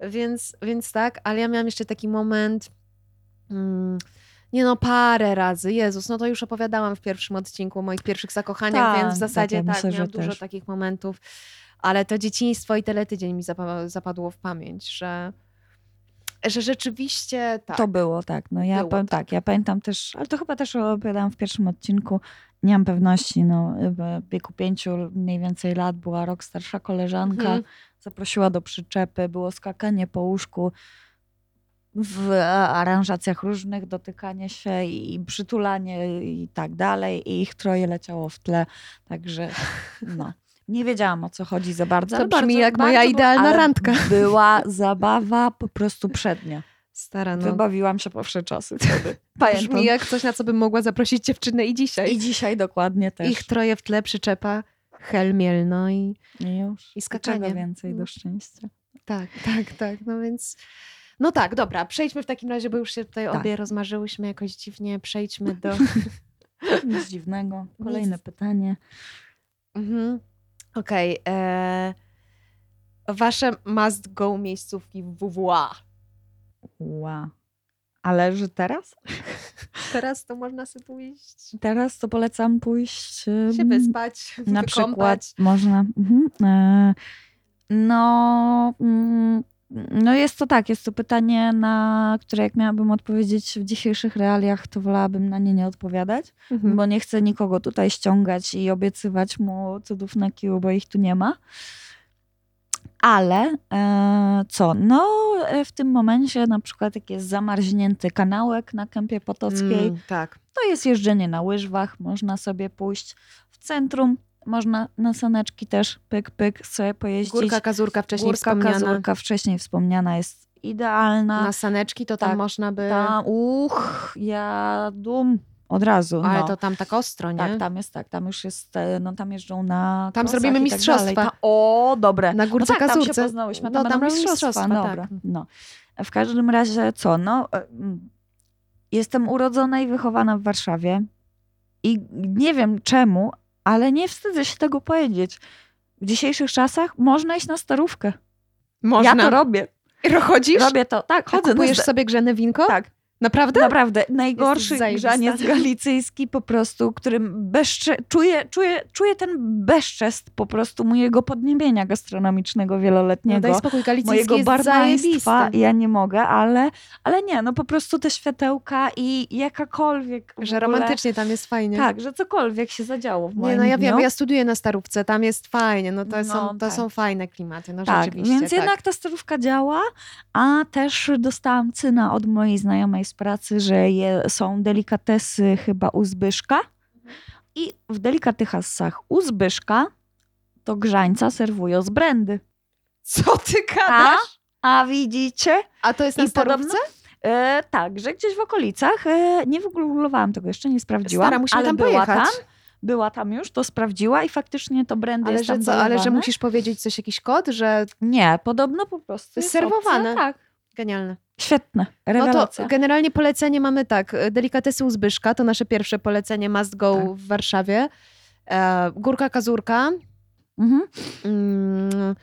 [SPEAKER 1] więc, więc tak, ale ja miałam jeszcze taki moment. Mm, nie no, parę razy. Jezus, no to już opowiadałam w pierwszym odcinku o moich pierwszych zakochaniach,
[SPEAKER 2] Tak,
[SPEAKER 1] więc w
[SPEAKER 2] tak,
[SPEAKER 1] zasadzie
[SPEAKER 2] ja
[SPEAKER 1] tak,
[SPEAKER 2] myślę, że
[SPEAKER 1] miałam dużo
[SPEAKER 2] też.
[SPEAKER 1] takich momentów. Ale to dzieciństwo i teletydzień mi zapa- zapadło w pamięć, że, że rzeczywiście tak.
[SPEAKER 2] To było, tak. No ja
[SPEAKER 1] Było,
[SPEAKER 2] powiem tak, ja pamiętam też, ale to chyba też opowiadałam w pierwszym odcinku, nie mam pewności, no w wieku pięciu mniej więcej lat była rok starsza koleżanka,
[SPEAKER 1] Mhm.
[SPEAKER 2] zaprosiła do przyczepy, było skakanie po łóżku w aranżacjach różnych, dotykanie się i przytulanie i tak dalej i ich troje leciało w tle, także no. Nie wiedziałam o co chodzi za bardzo.
[SPEAKER 1] To
[SPEAKER 2] ale
[SPEAKER 1] brzmi
[SPEAKER 2] bardzo,
[SPEAKER 1] jak moja
[SPEAKER 2] bardzo było-
[SPEAKER 1] idealna
[SPEAKER 2] ale
[SPEAKER 1] randka.
[SPEAKER 2] Była zabawa po prostu przednia.
[SPEAKER 1] Stara, no.
[SPEAKER 2] Wybawiłam się po wsze czasy
[SPEAKER 1] [laughs]
[SPEAKER 2] wtedy.
[SPEAKER 1] Brzmi jak coś, na co bym mogła zaprosić dziewczynę i dzisiaj.
[SPEAKER 2] I dzisiaj dokładnie też.
[SPEAKER 1] Ich troje w tle przyczepa, helmiel, no i...
[SPEAKER 2] I już.
[SPEAKER 1] I skakanie.
[SPEAKER 2] Czego więcej
[SPEAKER 1] No.
[SPEAKER 2] do szczęścia.
[SPEAKER 1] Tak, [laughs] tak, tak. No więc. No tak, dobra, przejdźmy w takim razie, bo już się tutaj
[SPEAKER 2] Tak.
[SPEAKER 1] obie rozmarzyłyśmy jakoś dziwnie. Przejdźmy
[SPEAKER 2] [laughs]
[SPEAKER 1] do.
[SPEAKER 2] Nic dziwnego. Kolejne
[SPEAKER 1] Nic.
[SPEAKER 2] pytanie.
[SPEAKER 1] mhm. Okej. e, Wasze must go miejscówki w WWA.
[SPEAKER 2] Ła. Ale że teraz?
[SPEAKER 1] Teraz to można sobie iść,
[SPEAKER 2] Teraz to polecam pójść em,
[SPEAKER 1] się wyspać,
[SPEAKER 2] Mm, na
[SPEAKER 1] wykąpać.
[SPEAKER 2] przykład można. Mhm. E, No, mm, no jest to tak, jest to pytanie, na które jak miałabym odpowiedzieć w dzisiejszych realiach, to wolałabym na nie nie odpowiadać.
[SPEAKER 1] Mhm.
[SPEAKER 2] bo nie chcę nikogo tutaj ściągać i obiecywać mu cudów na kiju, bo ich tu nie ma. Ale e, co? No, e, w tym momencie na przykład jak jest zamarznięty kanałek na Kępie Potockiej,
[SPEAKER 1] Mm, tak.
[SPEAKER 2] to jest jeżdżenie na łyżwach, można sobie pójść w centrum, można na saneczki też pyk, pyk sobie pojeździć.
[SPEAKER 1] Górka kazurka wcześniej
[SPEAKER 2] Górka
[SPEAKER 1] wspomniana.
[SPEAKER 2] Kazurka wcześniej wspomniana jest idealna.
[SPEAKER 1] Na saneczki to tam
[SPEAKER 2] Tak,
[SPEAKER 1] można by.
[SPEAKER 2] Tam, uch, ja dum od razu.
[SPEAKER 1] Ale
[SPEAKER 2] no.
[SPEAKER 1] to tam tak ostro, nie?
[SPEAKER 2] Tak, tam jest tak, tam już jest, e, no tam jeżdżą na
[SPEAKER 1] Tam
[SPEAKER 2] kosach
[SPEAKER 1] zrobimy
[SPEAKER 2] i
[SPEAKER 1] mistrzostwa.
[SPEAKER 2] Tak dalej. Ta- o, dobre.
[SPEAKER 1] Na górce
[SPEAKER 2] no tak, tam się
[SPEAKER 1] Kazurce.
[SPEAKER 2] poznałyśmy,
[SPEAKER 1] No,
[SPEAKER 2] tam,
[SPEAKER 1] tam
[SPEAKER 2] będą
[SPEAKER 1] robimy
[SPEAKER 2] mistrzostwa.
[SPEAKER 1] mistrzostwa, tak.
[SPEAKER 2] Dobra, no. W każdym razie co, no e, mm, jestem urodzona i wychowana w Warszawie i nie wiem czemu, ale nie wstydzę się tego powiedzieć. W dzisiejszych czasach można iść na starówkę.
[SPEAKER 1] Można. no
[SPEAKER 2] Ja to robię.
[SPEAKER 1] Chodzisz?
[SPEAKER 2] Robię to, tak, chodzę. na
[SPEAKER 1] Kupujesz
[SPEAKER 2] sta-
[SPEAKER 1] sobie grzane winko?
[SPEAKER 2] tak,
[SPEAKER 1] Naprawdę?
[SPEAKER 2] Naprawdę, najgorszy
[SPEAKER 1] Jesteś zajebista. [laughs]
[SPEAKER 2] grzaniec galicyjski po prostu, którym bezcze... czuję, czuję, czuję ten bezczest po prostu mojego podniebienia gastronomicznego
[SPEAKER 1] No
[SPEAKER 2] wieloletniego.
[SPEAKER 1] daj spokój, Galicyjski
[SPEAKER 2] mojego
[SPEAKER 1] jest zajebisty.
[SPEAKER 2] barbarstwa, ja nie mogę, ale, ale nie, no po prostu te światełka i jakakolwiek w
[SPEAKER 1] Że
[SPEAKER 2] ogóle-
[SPEAKER 1] romantycznie tam jest fajnie.
[SPEAKER 2] Tak, że cokolwiek się zadziało w moim
[SPEAKER 1] Nie, no ja
[SPEAKER 2] dniu.
[SPEAKER 1] wiem, ja studiuję na Starówce, tam jest fajnie, no to,
[SPEAKER 2] No,
[SPEAKER 1] są, to
[SPEAKER 2] tak.
[SPEAKER 1] są fajne klimaty, no
[SPEAKER 2] Tak,
[SPEAKER 1] rzeczywiście.
[SPEAKER 2] więc
[SPEAKER 1] tak.
[SPEAKER 2] jednak ta starówka działa, a też dostałam cyna od
[SPEAKER 1] Mhm.
[SPEAKER 2] mojej znajomej z pracy, że je, są delikatesy chyba u Zbyszka. I w delikatnych hassach u Zbyszka to grzańca serwują z brandy.
[SPEAKER 1] Co ty gadasz?
[SPEAKER 2] A widzicie?
[SPEAKER 1] A to jest na
[SPEAKER 2] I podobno-
[SPEAKER 1] starówce?
[SPEAKER 2] E, tak, że gdzieś w okolicach. E, nie wygooglowałam tego jeszcze, nie sprawdziłam.
[SPEAKER 1] Stara, musimy
[SPEAKER 2] ale
[SPEAKER 1] tam
[SPEAKER 2] była
[SPEAKER 1] pojechać.
[SPEAKER 2] tam. Była tam już, to sprawdziła i faktycznie to brandy
[SPEAKER 1] Ale
[SPEAKER 2] jest
[SPEAKER 1] że
[SPEAKER 2] tam
[SPEAKER 1] co, ale że
[SPEAKER 2] dolewane.
[SPEAKER 1] musisz powiedzieć coś, jakiś kod, że
[SPEAKER 2] Nie, podobno po prostu
[SPEAKER 1] Jest
[SPEAKER 2] jest opcja,
[SPEAKER 1] serwowane.
[SPEAKER 2] Tak.
[SPEAKER 1] genialne.
[SPEAKER 2] Świetne,
[SPEAKER 1] No
[SPEAKER 2] rewelacja.
[SPEAKER 1] to generalnie polecenie mamy tak, e, delikatesy u Zbyszka, to nasze pierwsze polecenie must go
[SPEAKER 2] Tak.
[SPEAKER 1] w Warszawie. E, Górka Kazurka.
[SPEAKER 2] mhm.
[SPEAKER 1] Mm,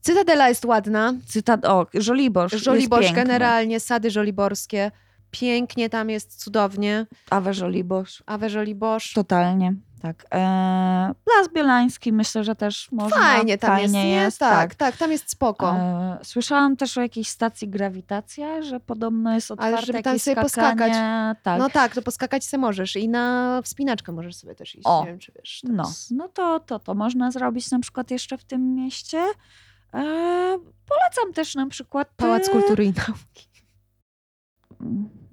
[SPEAKER 1] Cytadela jest ładna.
[SPEAKER 2] Cytat, o, Żoliborz jest
[SPEAKER 1] Żoliborz
[SPEAKER 2] piękny.
[SPEAKER 1] generalnie, sady żoliborskie. Pięknie tam jest, cudownie.
[SPEAKER 2] Awe Żoliborz.
[SPEAKER 1] Awe Żoliborz.
[SPEAKER 2] Totalnie, tak. Eee, Las Bielański myślę, że też można.
[SPEAKER 1] Fajnie tam jest,
[SPEAKER 2] fajnie
[SPEAKER 1] nie?
[SPEAKER 2] jest,
[SPEAKER 1] tak, tak, tam jest spoko.
[SPEAKER 2] Eee, Słyszałam też o jakiejś stacji grawitacja, że podobno jest otwarte
[SPEAKER 1] żeby tam
[SPEAKER 2] jakieś
[SPEAKER 1] sobie
[SPEAKER 2] skakanie.
[SPEAKER 1] poskakać.
[SPEAKER 2] Tak.
[SPEAKER 1] No tak, to poskakać se możesz i na wspinaczkę możesz sobie też iść.
[SPEAKER 2] O.
[SPEAKER 1] Nie wiem, czy wiesz. tam
[SPEAKER 2] No,
[SPEAKER 1] z-
[SPEAKER 2] no to, to, to można zrobić na przykład jeszcze w tym mieście. Eee, polecam też na przykład...
[SPEAKER 1] Pałac
[SPEAKER 2] eee,
[SPEAKER 1] Kultury i Nauki.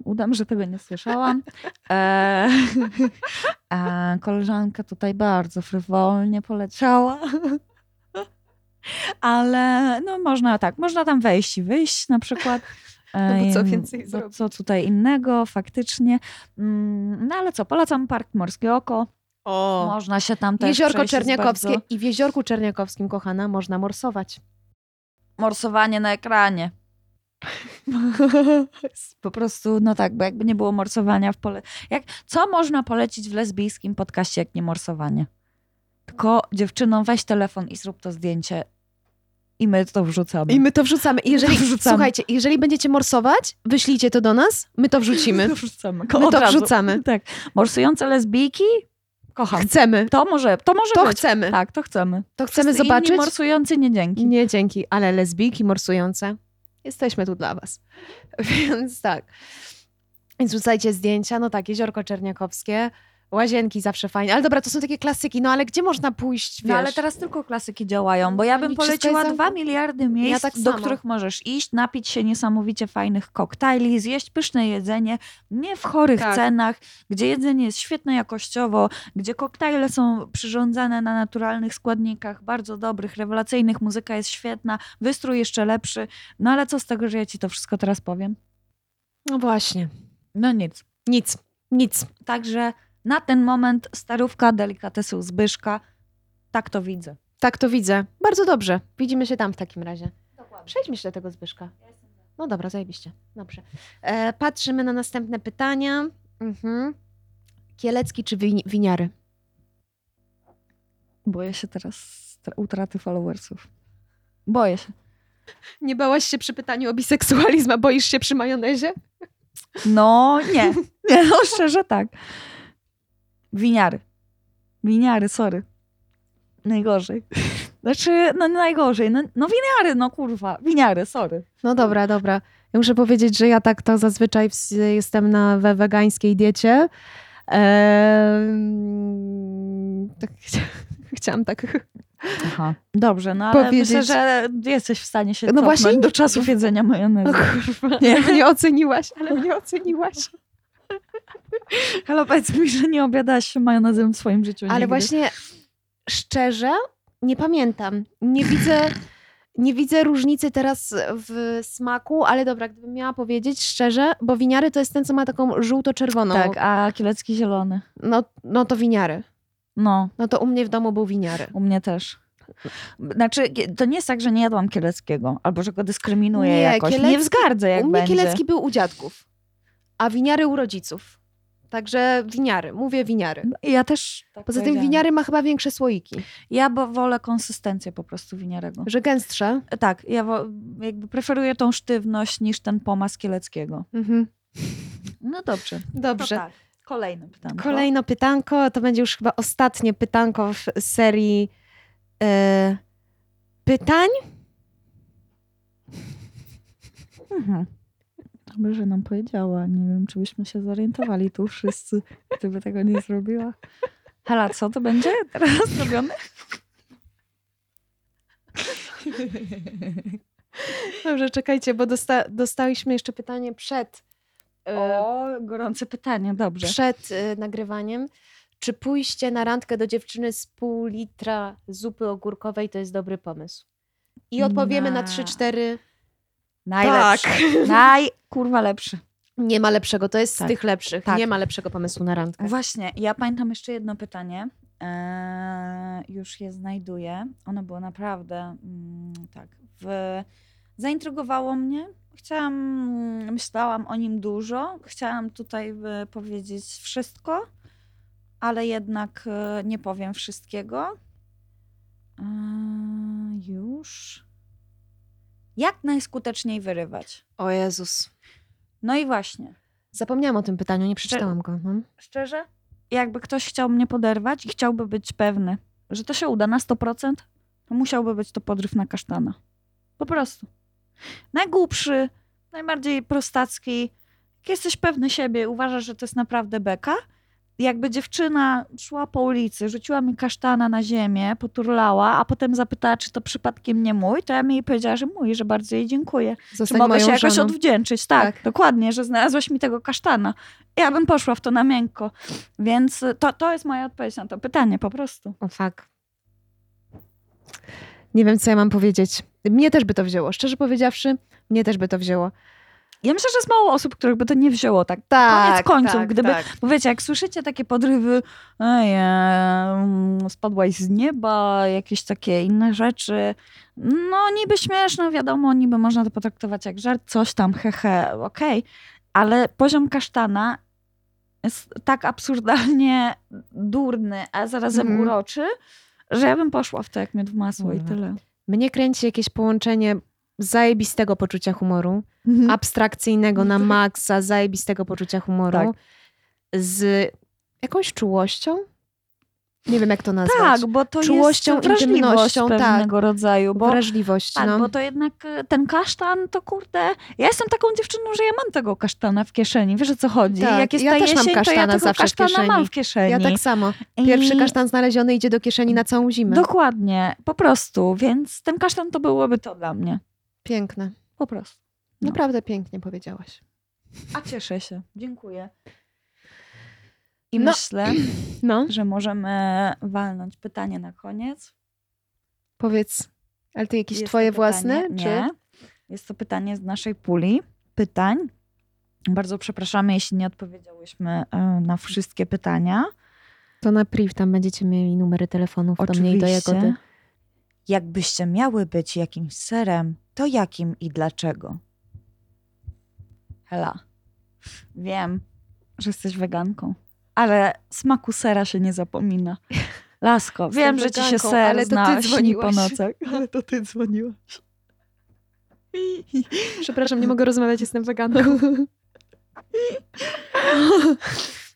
[SPEAKER 2] Udam, że tego nie słyszałam. [laughs] Eee, e, koleżanka tutaj bardzo frywolnie poleciała. [laughs] Ale no można tak, można tam wejść i wyjść na przykład.
[SPEAKER 1] [laughs] No bo co
[SPEAKER 2] Em,
[SPEAKER 1] więcej
[SPEAKER 2] bo
[SPEAKER 1] zrobić?
[SPEAKER 2] Co tutaj innego, faktycznie. Mm, No ale co, polecam Park Morskie Oko.
[SPEAKER 1] O.
[SPEAKER 2] Można się tam też
[SPEAKER 1] Jeziorko
[SPEAKER 2] przejść, jest
[SPEAKER 1] Czerniakowskie
[SPEAKER 2] Bardzo...
[SPEAKER 1] i w Jeziorku Czerniakowskim, kochana, można
[SPEAKER 2] [laughs]
[SPEAKER 1] morsować.
[SPEAKER 2] Morsowanie na ekranie. Po prostu, no tak, bo jakby nie było morsowania w pole. Jak, co można polecić w lesbijskim podcaście, jak nie morsowanie? Tylko dziewczyną weź telefon i zrób to zdjęcie. I my to wrzucamy. [laughs]
[SPEAKER 1] I my to wrzucamy. I Jeżeli,
[SPEAKER 2] To wrzucamy.
[SPEAKER 1] Słuchajcie, jeżeli będziecie morsować, wyślijcie to do nas, my to
[SPEAKER 2] [laughs]
[SPEAKER 1] wrzucimy.
[SPEAKER 2] to wrzucamy.
[SPEAKER 1] My
[SPEAKER 2] Od
[SPEAKER 1] to
[SPEAKER 2] razu.
[SPEAKER 1] wrzucamy.
[SPEAKER 2] Tak. Morsujące lesbijki? Kocham.
[SPEAKER 1] Chcemy.
[SPEAKER 2] To może, to może
[SPEAKER 1] To
[SPEAKER 2] być.
[SPEAKER 1] chcemy.
[SPEAKER 2] Tak, to chcemy.
[SPEAKER 1] To chcemy
[SPEAKER 2] Wszyscy
[SPEAKER 1] zobaczyć.
[SPEAKER 2] Inni morsujący nie dzięki.
[SPEAKER 1] Nie, dzięki, ale lesbijki morsujące, jesteśmy tu dla was. [laughs] Więc tak. Więc rzucajcie zdjęcia, no tak, Jeziorko Czerniakowskie, łazienki zawsze fajnie. Ale dobra, to są takie klasyki, no ale gdzie można pójść, wiesz?
[SPEAKER 2] No ale teraz tylko klasyki działają, bo ja
[SPEAKER 1] No i
[SPEAKER 2] bym
[SPEAKER 1] wszystko jest
[SPEAKER 2] poleciła
[SPEAKER 1] zamk-
[SPEAKER 2] dwa miliardy miejsc,
[SPEAKER 1] tak
[SPEAKER 2] do
[SPEAKER 1] samo.
[SPEAKER 2] których możesz iść, napić się niesamowicie fajnych koktajli, zjeść pyszne jedzenie, nie w chorych
[SPEAKER 1] Tak.
[SPEAKER 2] cenach, gdzie jedzenie jest świetne jakościowo, gdzie koktajle są przyrządzane na naturalnych składnikach, bardzo dobrych, rewelacyjnych, muzyka jest świetna, wystrój jeszcze lepszy. No ale co z tego, że ja ci to wszystko teraz powiem?
[SPEAKER 1] No właśnie,
[SPEAKER 2] No nic.
[SPEAKER 1] nic, nic.
[SPEAKER 2] Także na ten moment starówka delikatesu Zbyszka, tak to widzę.
[SPEAKER 1] Tak to widzę. Bardzo dobrze. Widzimy się tam w takim razie. Przejdźmy się do tego Zbyszka. No dobra, zajebiście. Dobrze. E, patrzymy na następne pytania. Mhm. Kielecki czy wini- winiary?
[SPEAKER 2] Boję się teraz stra- utraty followersów. Boję się.
[SPEAKER 1] Nie bałaś się przy pytaniu o biseksualizm, a boisz się przy majonezie?
[SPEAKER 2] No
[SPEAKER 1] [laughs]
[SPEAKER 2] nie. nie no szczerze tak. Winiary. Winiary, sorry. Najgorzej. Znaczy, no nie najgorzej. No, no winiary, no kurwa. Winiary, sorry.
[SPEAKER 1] No dobra, dobra. Ja muszę powiedzieć, że ja tak to zazwyczaj w- jestem na we wegańskiej diecie. Ehm, tak, chcia- [laughs] chciałam tak. [laughs]
[SPEAKER 2] Aha. Dobrze, no ale
[SPEAKER 1] Powiedzieć-
[SPEAKER 2] myślę, że jesteś w stanie się
[SPEAKER 1] No
[SPEAKER 2] no
[SPEAKER 1] właśnie- No
[SPEAKER 2] właśnie do czasu jedzenia majonezu.
[SPEAKER 1] O kurwa, [laughs] nie. mnie oceniłaś, ale mnie oceniłaś.
[SPEAKER 2] Ale powiedz mi, że nie obiadałaś się majonezem w swoim życiu
[SPEAKER 1] Ale
[SPEAKER 2] nigdy.
[SPEAKER 1] właśnie szczerze nie pamiętam. Nie widzę, nie widzę różnicy teraz w smaku, ale dobra, gdybym miała powiedzieć szczerze, bo winiary to jest ten, co ma taką żółto-czerwoną.
[SPEAKER 2] Tak, a kielecki zielony.
[SPEAKER 1] No, no to winiary.
[SPEAKER 2] No.
[SPEAKER 1] No to u mnie w domu był winiary.
[SPEAKER 2] U mnie też. Znaczy, kie- to nie jest tak, że nie jadłam kieleckiego, albo że go dyskryminuję
[SPEAKER 1] Nie,
[SPEAKER 2] jakoś.
[SPEAKER 1] Kielecki-
[SPEAKER 2] nie wzgardzę, jak
[SPEAKER 1] U mnie
[SPEAKER 2] będzie.
[SPEAKER 1] Kielecki był u dziadków, a winiary u rodziców. Także winiary, mówię winiary.
[SPEAKER 2] Ja też. Tak
[SPEAKER 1] Poza tym
[SPEAKER 2] powiedziałam.
[SPEAKER 1] winiary ma chyba większe słoiki,
[SPEAKER 2] Ja bo wolę konsystencję po prostu winiarego.
[SPEAKER 1] że gęstsze.
[SPEAKER 2] Tak, ja wo- jakby preferuję tą sztywność niż ten pomaz kieleckiego. No dobrze.
[SPEAKER 1] Mhm. Dobrze.
[SPEAKER 2] To tak. no. Kolejne pytanie.
[SPEAKER 1] Kolejne pytanko, to będzie już chyba ostatnie pytanko w serii e, pytań.
[SPEAKER 2] Mhm. Dobrze, że nam powiedziała. Nie wiem, czy byśmy się zorientowali tu wszyscy, [laughs] gdyby tego nie zrobiła. Hela, co to będzie teraz [laughs] zrobione?
[SPEAKER 1] Dobrze, czekajcie, bo dosta- dostałyśmy jeszcze pytanie przed, e,
[SPEAKER 2] gorące pytanie, dobrze.
[SPEAKER 1] przed e, y, nagrywaniem. czy pójście na randkę do dziewczyny z pół litra zupy ogórkowej to jest dobry pomysł? I odpowiemy na
[SPEAKER 2] Na.
[SPEAKER 1] 3-4.
[SPEAKER 2] Najlepszy. [laughs] Naj, kurwa, lepszy.
[SPEAKER 1] Nie ma lepszego, to jest z
[SPEAKER 2] Tak.
[SPEAKER 1] tych lepszych.
[SPEAKER 2] Tak.
[SPEAKER 1] Nie ma lepszego pomysłu na randkę.
[SPEAKER 2] Właśnie, ja pamiętam jeszcze jedno pytanie. Eee, już je znajduję. Ono było naprawdę mm, tak. W... Zaintrygowało mnie. Chciałam, mm, myślałam o nim dużo. Chciałam tutaj e, powiedzieć wszystko, ale jednak e, nie powiem wszystkiego. Eee, już. Jak najskuteczniej wyrywać?
[SPEAKER 1] O Jezus.
[SPEAKER 2] No i właśnie.
[SPEAKER 1] Zapomniałam o tym pytaniu, nie przeczytałam go. No.
[SPEAKER 2] szczerze, jakby ktoś chciał mnie poderwać i chciałby być pewny, że to się uda na 100%, to musiałby być to podryw na kasztana. Po prostu. Najgłupszy, najbardziej prostacki. Jak jesteś pewny siebie, uważasz, że to jest naprawdę beka, jakby dziewczyna szła po ulicy, rzuciła mi kasztana na ziemię, poturlała, a potem zapytała, czy to przypadkiem nie mój, to ja mi jej powiedziała, że mój, że bardzo jej dziękuję. Czy
[SPEAKER 1] Zostań
[SPEAKER 2] mogę
[SPEAKER 1] moją
[SPEAKER 2] się jakoś
[SPEAKER 1] żoną.
[SPEAKER 2] odwdzięczyć? Tak,
[SPEAKER 1] Tak.
[SPEAKER 2] dokładnie, że znalazłeś mi tego kasztana. Ja bym poszła w to na miękko. Więc to, to jest moja odpowiedź na to pytanie po prostu.
[SPEAKER 1] O fuck. Nie wiem, co ja mam powiedzieć. Mnie też by to wzięło. Szczerze powiedziawszy, mnie też by to wzięło.
[SPEAKER 2] Ja myślę, że jest mało osób, których by to nie wzięło tak.
[SPEAKER 1] Tak,
[SPEAKER 2] końców, gdyby-
[SPEAKER 1] tak.
[SPEAKER 2] Bo wiecie, jak słyszycie takie podrywy, ej, em, spadłaś z nieba, jakieś takie inne rzeczy, no niby śmieszne, wiadomo, niby można to potraktować jak żart, coś tam, hehe, okej, ale poziom kasztana jest tak absurdalnie durny, a zarazem
[SPEAKER 1] Mhm.
[SPEAKER 2] uroczy, że ja bym poszła w to jak miód w masło i
[SPEAKER 1] Dobra.
[SPEAKER 2] tyle.
[SPEAKER 1] Mnie kręci jakieś połączenie zajebistego poczucia humoru,
[SPEAKER 2] Mhm.
[SPEAKER 1] abstrakcyjnego na maksa, zajebistego poczucia humoru
[SPEAKER 2] Tak.
[SPEAKER 1] z jakąś czułością? Nie wiem, jak to nazwać.
[SPEAKER 2] tak, bo to
[SPEAKER 1] Czułością,
[SPEAKER 2] jest wrażliwość
[SPEAKER 1] intymnością, tak.
[SPEAKER 2] pewnego rodzaju, bo
[SPEAKER 1] Wrażliwość,
[SPEAKER 2] Tak,
[SPEAKER 1] no.
[SPEAKER 2] bo to jednak y, ten kasztan, to kurde, ja jestem taką dziewczyną, że ja mam tego kasztana w kieszeni, wiesz o co chodzi?
[SPEAKER 1] Tak,
[SPEAKER 2] Jak jest
[SPEAKER 1] ja
[SPEAKER 2] ta
[SPEAKER 1] też mam
[SPEAKER 2] jesień, to ja
[SPEAKER 1] kasztana
[SPEAKER 2] tego
[SPEAKER 1] zawsze w
[SPEAKER 2] kasztana mam w
[SPEAKER 1] kieszeni.
[SPEAKER 2] kieszeni.
[SPEAKER 1] Ja tak samo. Pierwszy
[SPEAKER 2] I-
[SPEAKER 1] kasztan znaleziony idzie do kieszeni na całą zimę.
[SPEAKER 2] Dokładnie, po prostu, więc ten kasztan to byłoby to dla mnie,
[SPEAKER 1] Piękne.
[SPEAKER 2] po prostu. No.
[SPEAKER 1] Naprawdę pięknie powiedziałaś.
[SPEAKER 2] A cieszę się, dziękuję. I
[SPEAKER 1] No.
[SPEAKER 2] myślę,
[SPEAKER 1] No.
[SPEAKER 2] że możemy walnąć pytanie na koniec.
[SPEAKER 1] Powiedz, ale to jakieś
[SPEAKER 2] Jest to
[SPEAKER 1] twoje
[SPEAKER 2] pytanie-
[SPEAKER 1] własne?
[SPEAKER 2] Nie. Jest to pytanie z naszej puli pytań. Bardzo przepraszamy, jeśli nie odpowiedziałyśmy e, na wszystkie pytania.
[SPEAKER 1] Czy to na priv tam będziecie mieli numery telefonów do mnie i do Jagody.
[SPEAKER 2] Jakbyście miały być jakimś serem, to jakim i dlaczego? Hela. Wiem, że jesteś weganką, ale smaku sera się nie zapomina. Lasko,
[SPEAKER 1] Jestem
[SPEAKER 2] wiem, że ci się
[SPEAKER 1] weganką,
[SPEAKER 2] ser
[SPEAKER 1] ale to ty
[SPEAKER 2] zna, śni po
[SPEAKER 1] dzwoniłaś.
[SPEAKER 2] [laughs] nocach. Ale to ty dzwoniłaś.
[SPEAKER 1] Przepraszam, nie mogę rozmawiać, jestem weganką.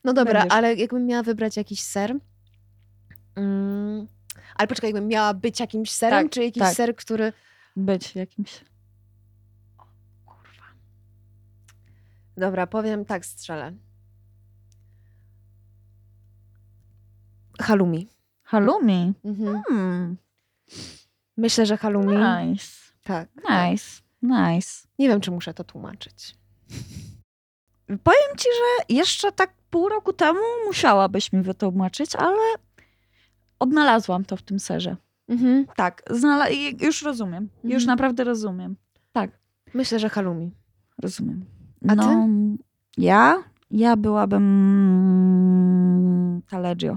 [SPEAKER 1] No dobra,
[SPEAKER 2] Będziesz.
[SPEAKER 1] ale jakbym miała wybrać jakiś ser. Mm, ale poczekaj, jakbym miała być jakimś serem,
[SPEAKER 2] Tak,
[SPEAKER 1] czy jakiś
[SPEAKER 2] tak.
[SPEAKER 1] ser, który.
[SPEAKER 2] Być jakimś.
[SPEAKER 1] Dobra, powiem tak, strzelę. Halumi.
[SPEAKER 2] Halumi.
[SPEAKER 1] Mhm.
[SPEAKER 2] Hmm,
[SPEAKER 1] Myślę, że
[SPEAKER 2] No.
[SPEAKER 1] halumi.
[SPEAKER 2] nice.
[SPEAKER 1] Tak.
[SPEAKER 2] Nice. Nice.
[SPEAKER 1] Nie wiem, czy muszę to tłumaczyć.
[SPEAKER 2] Powiem ci, że jeszcze tak pół roku temu musiałabyś mi wytłumaczyć, ale odnalazłam to w tym serze.
[SPEAKER 1] Mhm.
[SPEAKER 2] Tak, znala- i- już rozumiem. Już
[SPEAKER 1] Mhm.
[SPEAKER 2] naprawdę rozumiem.
[SPEAKER 1] Myślę, że halumi.
[SPEAKER 2] Rozumiem.
[SPEAKER 1] A
[SPEAKER 2] no,
[SPEAKER 1] ty?
[SPEAKER 2] Ja? Ja byłabym Taleggio.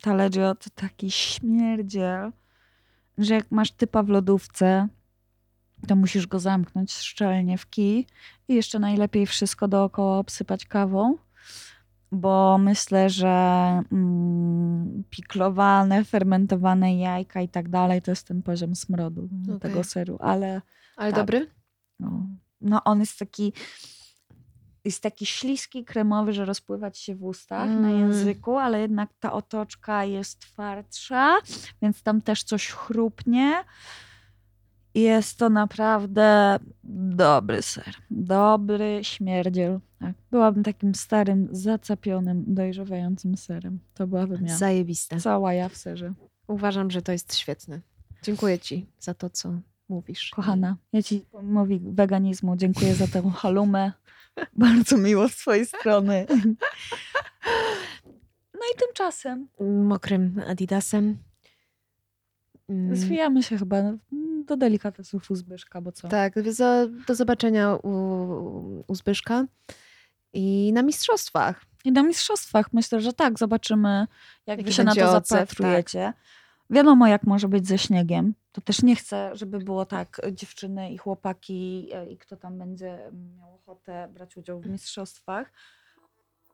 [SPEAKER 2] Taleggio to taki śmierdziel, że jak masz typa w lodówce, to musisz go zamknąć szczelnie w kij i jeszcze najlepiej wszystko dookoła obsypać kawą, bo myślę, że mm, piklowane, fermentowane jajka i tak dalej to jest ten poziom smrodu
[SPEAKER 1] Okej.
[SPEAKER 2] tego seru, ale
[SPEAKER 1] Ale
[SPEAKER 2] Tak.
[SPEAKER 1] dobry?
[SPEAKER 2] no, no on jest taki jest taki śliski, kremowy, że rozpływa ci się w ustach, na
[SPEAKER 1] Mm.
[SPEAKER 2] języku, ale jednak ta otoczka jest twardsza, więc tam też coś chrupnie. I Jest to naprawdę dobry ser. Dobry śmierdziel. Tak. Byłabym takim starym, zacapionym, dojrzewającym serem. To byłabym ja.
[SPEAKER 1] Zajebiste.
[SPEAKER 2] Cała ja w serze.
[SPEAKER 1] Uważam, że to jest świetne. Dziękuję ci za to, co mówisz.
[SPEAKER 2] Kochana, ja ci mówi weganizmu dziękuję za tę halumę. Bardzo miło z twojej strony. No No i tymczasem
[SPEAKER 1] Mokrym Adidasem. Mm,
[SPEAKER 2] zwijamy się chyba do delikatesów u Zbyszka, bo co?
[SPEAKER 1] Tak, za, do zobaczenia u, u Zbyszka i na mistrzostwach.
[SPEAKER 2] I na mistrzostwach myślę, że tak, zobaczymy, jak
[SPEAKER 1] Jaki
[SPEAKER 2] wy się na
[SPEAKER 1] będzie
[SPEAKER 2] to
[SPEAKER 1] odzew, tak.
[SPEAKER 2] zapatrujecie. Wiadomo, jak może być ze śniegiem. To też nie chcę, żeby było tak, e, dziewczyny i chłopaki e, i kto tam będzie mm, miał ochotę brać udział w mistrzostwach,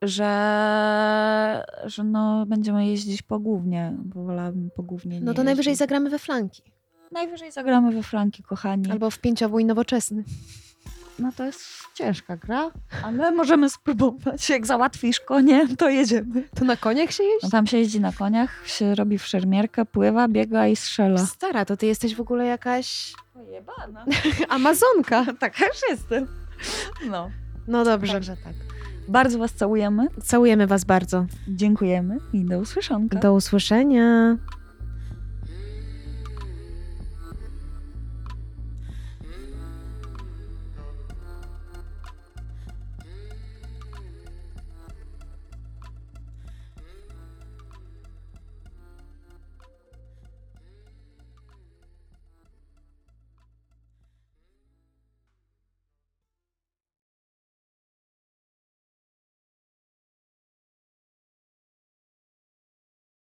[SPEAKER 2] że, że no, będziemy jeździć po głównie, bo wolałabym po głównie
[SPEAKER 1] No
[SPEAKER 2] nie
[SPEAKER 1] to najwyżej
[SPEAKER 2] jeździć.
[SPEAKER 1] zagramy we flanki.
[SPEAKER 2] najwyżej zagramy we Franki, kochani.
[SPEAKER 1] Albo w pięciobój nowoczesny.
[SPEAKER 2] No to jest ciężka gra, ale możemy spróbować. Jak załatwisz konie, to jedziemy.
[SPEAKER 1] To na koniach się
[SPEAKER 2] No
[SPEAKER 1] jeździ?
[SPEAKER 2] tam się jeździ na koniach, się robi w szermierkę, pływa, biega i strzela.
[SPEAKER 1] Stara, to ty jesteś w ogóle jakaś Tak,
[SPEAKER 2] Pojebana.
[SPEAKER 1] [laughs] amazonka.
[SPEAKER 2] Taka już jestem. No.
[SPEAKER 1] No dobrze.
[SPEAKER 2] Także tak. [laughs] Bardzo was całujemy,
[SPEAKER 1] Całujemy was bardzo.
[SPEAKER 2] dziękujemy i do usłyszonka.
[SPEAKER 1] Do usłyszenia.